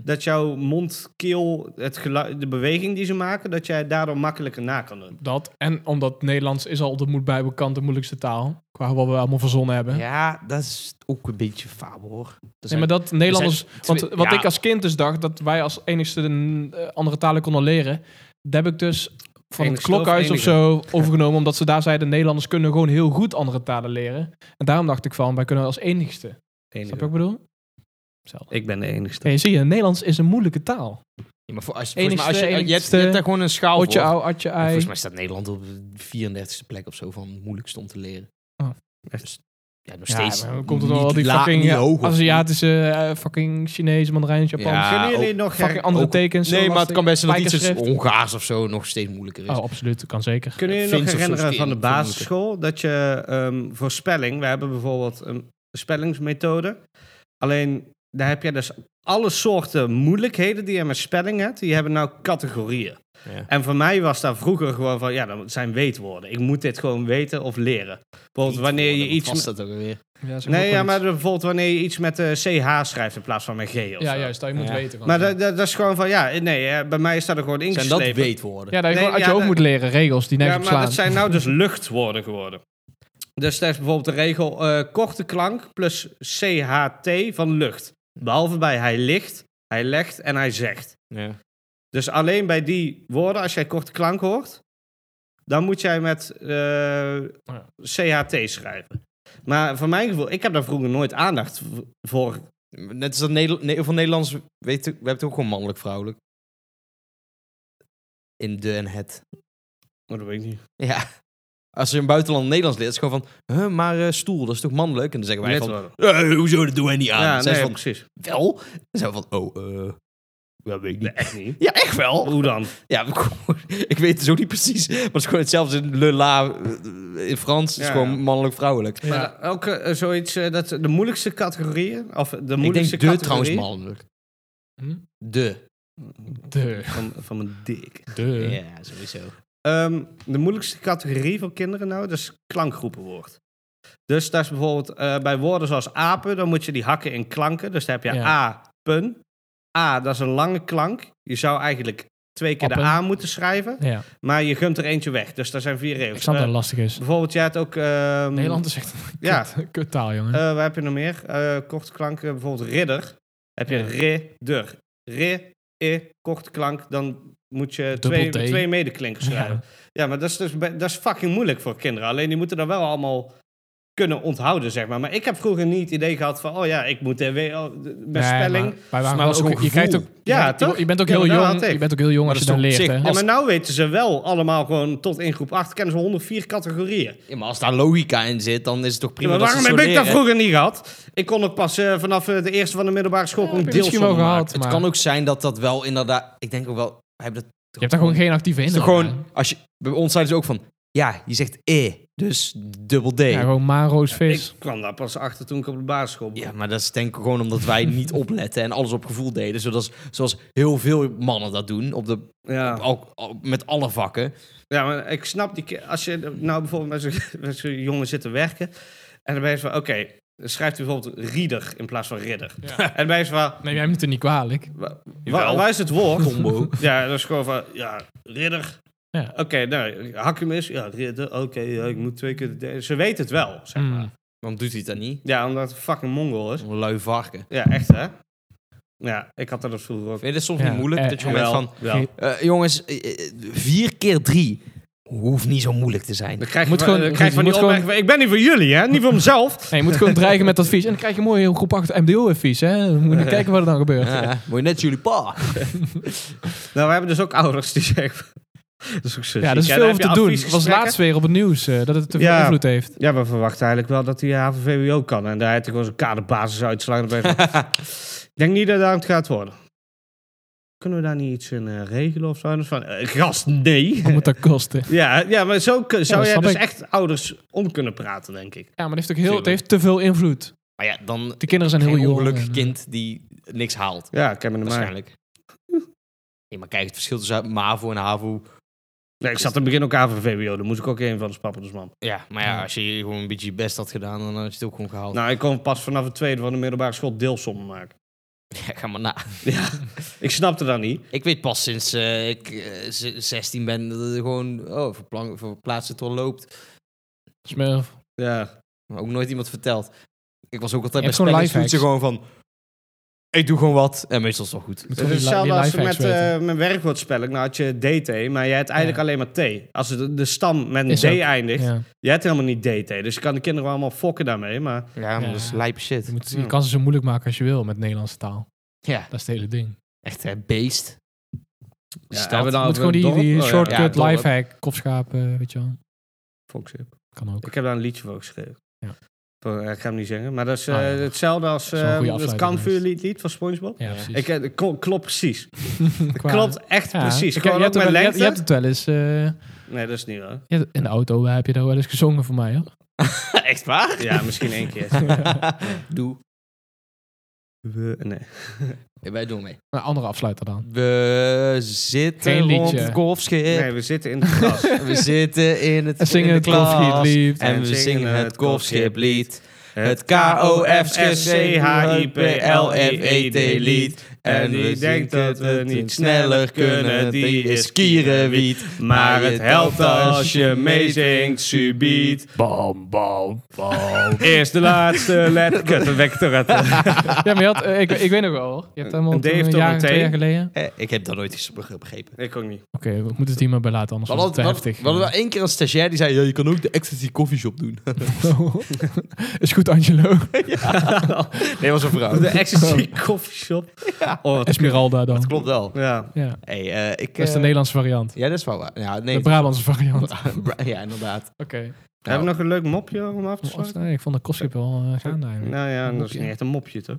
dat jouw mond, keel, het geluid, de beweging die ze maken, dat jij daardoor makkelijker na kan doen. Dat en omdat Nederlands is al de moet bij bekant de moeilijkste taal. Qua wat we allemaal verzonnen hebben. Ja, dat is ook een beetje fabel hoor. Nee, maar dat Nederlanders. zijn Want twee- wat ja. ik als kind dus dacht, dat wij als enigste de eh, andere talen konden leren. Dat heb ik dus van het Enigste of klokhuis of enige? zo overgenomen. Omdat ze daar zeiden: Nederlanders kunnen gewoon heel goed andere talen leren. En daarom dacht ik van: wij kunnen als enigste. Snap je wat ik bedoel? Hetzelfde. Ik ben de enigste. Ja, je zie je, Nederlands is een moeilijke taal. Ja, maar voor, als, Enigste, volgens mij, als je, je, hebt, je enigste- hebt daar gewoon een schaal voor. Otje ou, atje En ei. Volgens mij staat Nederland op de 34e plek of zo van moeilijkst om te leren. Oh. Dus, ja, nog Ja, steeds. maar dan komt er dan niet al die la- fucking niet eh, hoog of Aziatische, eh, fucking Chinese, Mandarijn, Japan. Ja, Kunnen jullie ook- nog fucking her- andere ook- tekens. Nee, maar het lastig. kan best wel dat iets als Spijkerschrift. Hongaars of zo nog steeds moeilijker is. Oh, absoluut. Kan zeker. Kunnen jullie Fins nog Eh, of zo herinneren steen, van de vermoed ik. basisschool dat je ehm, voor spelling, we hebben bijvoorbeeld een spellingsmethode. Alleen daar heb je dus alle soorten moeilijkheden die je met spelling hebt, die hebben nou categorieën. Ja. En voor mij was daar vroeger gewoon van, ja, dat zijn weetwoorden. Ik moet dit gewoon weten of leren. Bijvoorbeeld wanneer je Wat iets... was met- dat ook alweer? Ja, zeg Nee, ook ja, wel maar iets. bijvoorbeeld wanneer je iets met eh, CH schrijft in plaats van met G of Ja, zo. juist. Dat je moet Ja. weten. gewoon. Maar dat, dat, dat is gewoon van, ja, nee, hè, bij mij staat er gewoon Zijn ingeslepen. dat weetwoorden? Ja, dat Nee, je gewoon uit ja, je hoofd dat- moet leren. Regels die Ja, nergens op maar slaan. dat zijn nou dus luchtwoorden geworden. Dus daar is bijvoorbeeld de regel eh, korte klank plus CHT van lucht. Behalve bij hij ligt, hij legt en hij zegt. Ja. Dus alleen bij die woorden, als jij korte klank hoort, dan moet jij met eh, Oh ja. CHT schrijven. Maar voor mijn gevoel, ik heb daar vroeger nooit aandacht v- voor. Net als dat Nederland, nee, van Nederlands, weet, we hebben het ook gewoon mannelijk-vrouwelijk. In de en het. Oh, dat weet ik niet. Ja, Als je een buitenland Nederlands leert, is het gewoon van, huh, maar eh, stoel, dat is toch mannelijk? En dan zeggen wij Net van, wel. eh, hoezo, dat doen wij niet aan. Ja, Ja, nee, van, precies. wel? Dan zijn we van, oh, eh, dat weet ik niet. Echt niet. Ja, echt wel. Hoe dan? Ja, ik weet het zo niet precies. Maar het is gewoon hetzelfde als in le la eh, in Frans. Het is Ja. gewoon mannelijk-vrouwelijk. Maar ook eh, zoiets, eh, dat de moeilijkste categorieën, of de Ik denk moeilijkste de trouwens categorie mannelijk. Hm? De. De. van, van mijn dik. De. Ja, sowieso. Ehm, de moeilijkste categorie voor kinderen nou, dat is klankgroepenwoord. Dus dat is bijvoorbeeld eh, bij woorden zoals apen, dan moet je die hakken in klanken. Dus dan heb je Ja. A, pun. A, dat is een lange klank. Je zou eigenlijk twee keer de Appen. A moeten schrijven, Ja, maar je gunt er eentje weg. Dus daar zijn vier ik regels. snap dat Eh, het lastig is. bijvoorbeeld, jij had ook... ehm, Nederland is echt een ja. kut, kuttaal, jongen. eh wat heb je nog meer? Eh, korte klanken, bijvoorbeeld ridder. Heb je Ja. ridder. Ri, e, korte klank. Dan moet je Dubbel twee, D. twee medeklinkers Ja. schrijven. Ja, maar dat is, dus, be- dat is fucking moeilijk voor kinderen. Alleen die moeten dat wel allemaal kunnen onthouden, zeg maar. Maar ik heb vroeger niet het idee gehad van... oh ja, ik moet eh, we- oh, de- Nee, mijn spelling... maar wij waren maar wel dat is ook, gewoon je krijgt ook, gevoel. Ja, je- toch? Je bent ook Ja, heel maar dat jong. had ik. Je bent ook heel jong Maar als je dat dan is leert. toch op hè? Ja, zich Als- maar nou weten ze wel allemaal gewoon tot in groep 8... kennen ze 104 categorieën. Ja, maar als daar logica in zit, dan is het toch Ja, prima maar dat ze waarom het heb zo ik dat leren? vroeger niet gehad? Ik kon ook pas eh, vanaf eh, de eerste van de middelbare school... kon heb ik je misschien wel deelsom maken. gehad. Het Maar- kan ook zijn dat dat wel inderdaad... Ik denk ook wel... Hij heeft dat Je hebt daar gewoon geen actieve is toch inhoud. Dus gewoon... Als je, bij ons zeiden ze ook van... Ja, je zegt E, dus dubbel D. aan. Ja, Ja, gewoon Maro's vis. Ik kwam daar pas achter toen ik op de basisschool begon. maar dat is denk ik gewoon omdat wij niet opletten en alles op gevoel deden. Zoals, zoals heel veel mannen dat doen, op de, Ja. al- al- met alle vakken. ja, maar ik snap die... ke- Als je nou bijvoorbeeld met zo'n- met zo'n jongen zit te werken... en dan ben je van, oké, dan schrijft hij bijvoorbeeld rieder in plaats van ridder. Ja. En dan ben je van, Nee, jij moet het niet kwalijk. wa- wa- Jawel. waar is het woord? Combo. Ja, dat is gewoon van, ja, ridder. Ja. Oké, nou, hak hem eens. Ja, ridder, oké, ja, ik moet twee keer... de derde. Ze weet het wel, zeg maar. Mm. Waarom doet hij het dan niet? Ja, omdat het fucking mongool is. Een lui varken. Ja, echt, hè? Ja, ik had dat dus vroeger ook. Vind je het soms Ja, niet moeilijk? eh, dat je gewoon bent Jawel, van... wel. eh, jongens, eh, eh, vier keer drie hoeft niet zo moeilijk te zijn. Dan krijg je, Moet van- gewoon- dan krijg je van die moet gewoon- opmerking van, ik ben niet voor jullie, hè? Niet voor mezelf. Nee, je moet gewoon dreigen met advies. En dan krijg je mooi heel groep 8 MDO-advies. hè. Dan moet je kijken wat er dan gebeurt. Ja, moet je net jullie pa. Nou, we hebben dus ook ouders die zeggen... Dat is ook zo Ja, ziek, dat is hè? veel Dan over heb te je doen. Het was adviesgesprekken. laatst weer op het nieuws eh, dat het te veel Ja. invloed heeft. Ja, we verwachten eigenlijk wel dat hij eh, HVVWO kan. En daar heeft hij gewoon zijn kaderbasis uitslagen. Dan ben je van, Ik denk niet dat dat het gaat worden. Kunnen we daar niet iets in eh, regelen of zo? En dan is van, eh, gast, nee. Wat moet dat kosten? Ja, ja, maar zo kun- zou dat jij snap dus ik. echt ouders om kunnen praten, denk ik. Ja, maar het heeft ook heel, het heeft te veel invloed. Maar ja, dan De kinderen zijn heel een jong. ongelukkig en, eh, kind die niks haalt. Ja, ik heb me er maar. Waarschijnlijk. Nee, maar kijk, het verschil tussen MAVO en HAVO... Nee, ik zat in het begin ook HVVWO. Daar moest ik ook een van de pappertjes, man. Ja, maar ja, als je gewoon een beetje je best had gedaan, dan had je het ook gewoon Oh. gehaald. Nou, ik kon pas vanaf het tweede van de middelbare school deelsommen maken. Ja, ga maar na. Ja, ik snapte dat niet. Ik weet pas sinds eh, ik eh, z- 16 ben dat het gewoon... Oh, verplan- verplaatsen tot loopt. Smurf. Ja. Maar ook nooit iemand verteld. Ik was ook altijd Je bij hebt gewoon spellingstoetsen gewoon van... Ik doe gewoon wat. En meestal is het wel goed. Moet Het is gewoon die li- hetzelfde die Dus als lifehacks met eh, weten. mijn werkwoordspelling. Nou had je DT, maar jij hebt eigenlijk alleen maar T. Als de, de stam met een Is D ook, eindigt, Ja. jij hebt helemaal niet DT. Dus je kan de kinderen wel allemaal fokken daarmee. Maar Ja, maar Ja. dat is lijpe Je, shit. moet, Ja. je kan ze zo moeilijk maken als je wil met Nederlandse taal. Ja, Dat is het hele ding. Ah, echt hè, beest. ja, Stad. hebben we Je dan moet gewoon over die, dorp? die Oh, ja. Ja, shortcut, dorp. lifehack, kopschaap, eh, weet je wel. Foxhip. Kan ook. Ik heb daar een liedje voor geschreven. Ja. Voor- Ik ga hem niet zingen. Maar dat is eh, Ah, ja. hetzelfde als Dat is wel een eh, goede het afsluiting kampvuurlied lied van Spongebob. Ja, Ja. precies. Ik, eh, kl- klopt precies. Qua- Klopt echt Ja, precies. ik- Gewoon je, ook met hebt het wel- je- lengte. je hebt het wel eens... eh, Nee, dat is niet waar. je hebt- in de auto eh, heb je daar wel eens gezongen voor mij, hoor. echt waar? Ja, misschien één keer. Doe. We- Nee. Wij doen mee. Een andere afsluiter dan. We zitten Geen rond liedje. het golfschip. nee, we zitten in de klas. We zitten in het En zingen in de het golfslied. En we zingen het golfschiplied. Het E K-O-F-S-C-H-I-P-L-F-E-T K-O-F-S-C-H-I-P-L-F-E-T-lied. En die denkt dat we niet sneller kunnen, die is kierenwiet. Maar het helpt als je meezingt, subiet. Bam, bam, bam. Eerst de laatste letter. Kut, dan ben ik er uit. Ja, maar je had, eh, ik, ik weet nog wel. hoor. Je hebt helemaal Een D toen heeft een toch jaar, een T? twee jaar geleden. Eh, Ik heb dat nooit eens begrepen. Ik ook niet. Oké, we moeten het hier maar bij laten, anders We wordt het te hadden, we heftig. hadden wel één keer een stagiair die zei, ja, je kan ook de Ecstasy Coffee Shop doen. Is goed Angelo. Nee, was een vrouw. De Ecstasy Coffee Shop. Oh, wat Esmeralda dan. Dat klopt wel. Ja. Ja, Hey, eh, ik, dat is de eh, Nederlandse variant. Ja, dat is wel waar. Ja, nee, De Brabantse variant. Oké. Bra- ja, inderdaad. Nou, Hebben we nog een leuk mopje om af te Oh, sluiten? nee, ik vond de kostje wel eh, gaande eigenlijk. Nou ja, dat is mopje. niet echt een mopje, toch?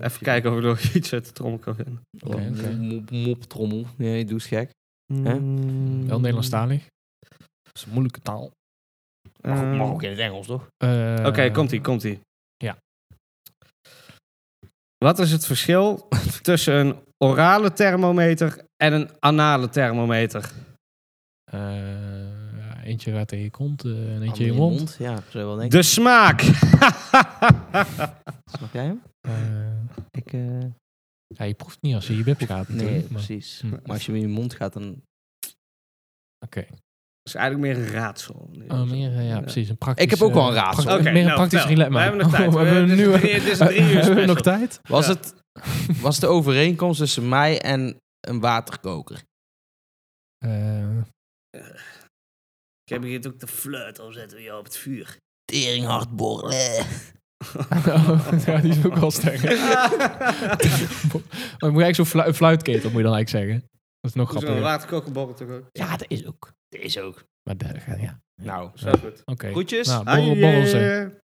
Even kijken of ik nog iets uit de trommel kan vinden. Oké, oké. Mop, moptrommel. Nee, doe eens gek. Hè? Mm. Wel Nederlandstalig. Dat is een moeilijke taal. Eh, Mag ook- mag ook in het Engels, toch? Eh, Oké, komt-ie, komt-ie. Ja. Wat is het verschil tussen een orale thermometer en een anale thermometer? eh, ja, eentje gaat in je kont eh, en eentje Handen in je mond. Ja, zou je wel denken. De smaak! Snap jij hem? Eh, Ik, eh, ja, je proeft niet als je je bib gaat nee, natuurlijk. maar- precies. Hm. Maar als je hem in je mond gaat, dan... Oké. Dat is eigenlijk meer een raadsel. Oh, meer, eh, ja, precies. Een praktisch, Ik heb ook wel een eh, raadsel. praktisch- Oké, meer een nou, praktisch vertel. relema. We hebben nog tijd. we hebben We- nu dit is een drie- dit is een drie uur Hebben we nog special. tijd? Was, Ja. het, was de overeenkomst tussen mij en een waterkoker? Eh, Ik heb hier ook de flirt al zetten we je op het vuur. Tering hardborrelen. ja, die is ook wel sterk. Maar moet je eigenlijk zo'n flu- een fluitketel, moet je dan eigenlijk zeggen. Dat is nog Zo'n grappiger. waterkokerborrel toch ook? Ja, dat is ook. Dat is ook. Maar daar, ja. Nou, Zo goed. Oké. groetjes. Nou, borrel, borrel ze. Adieu.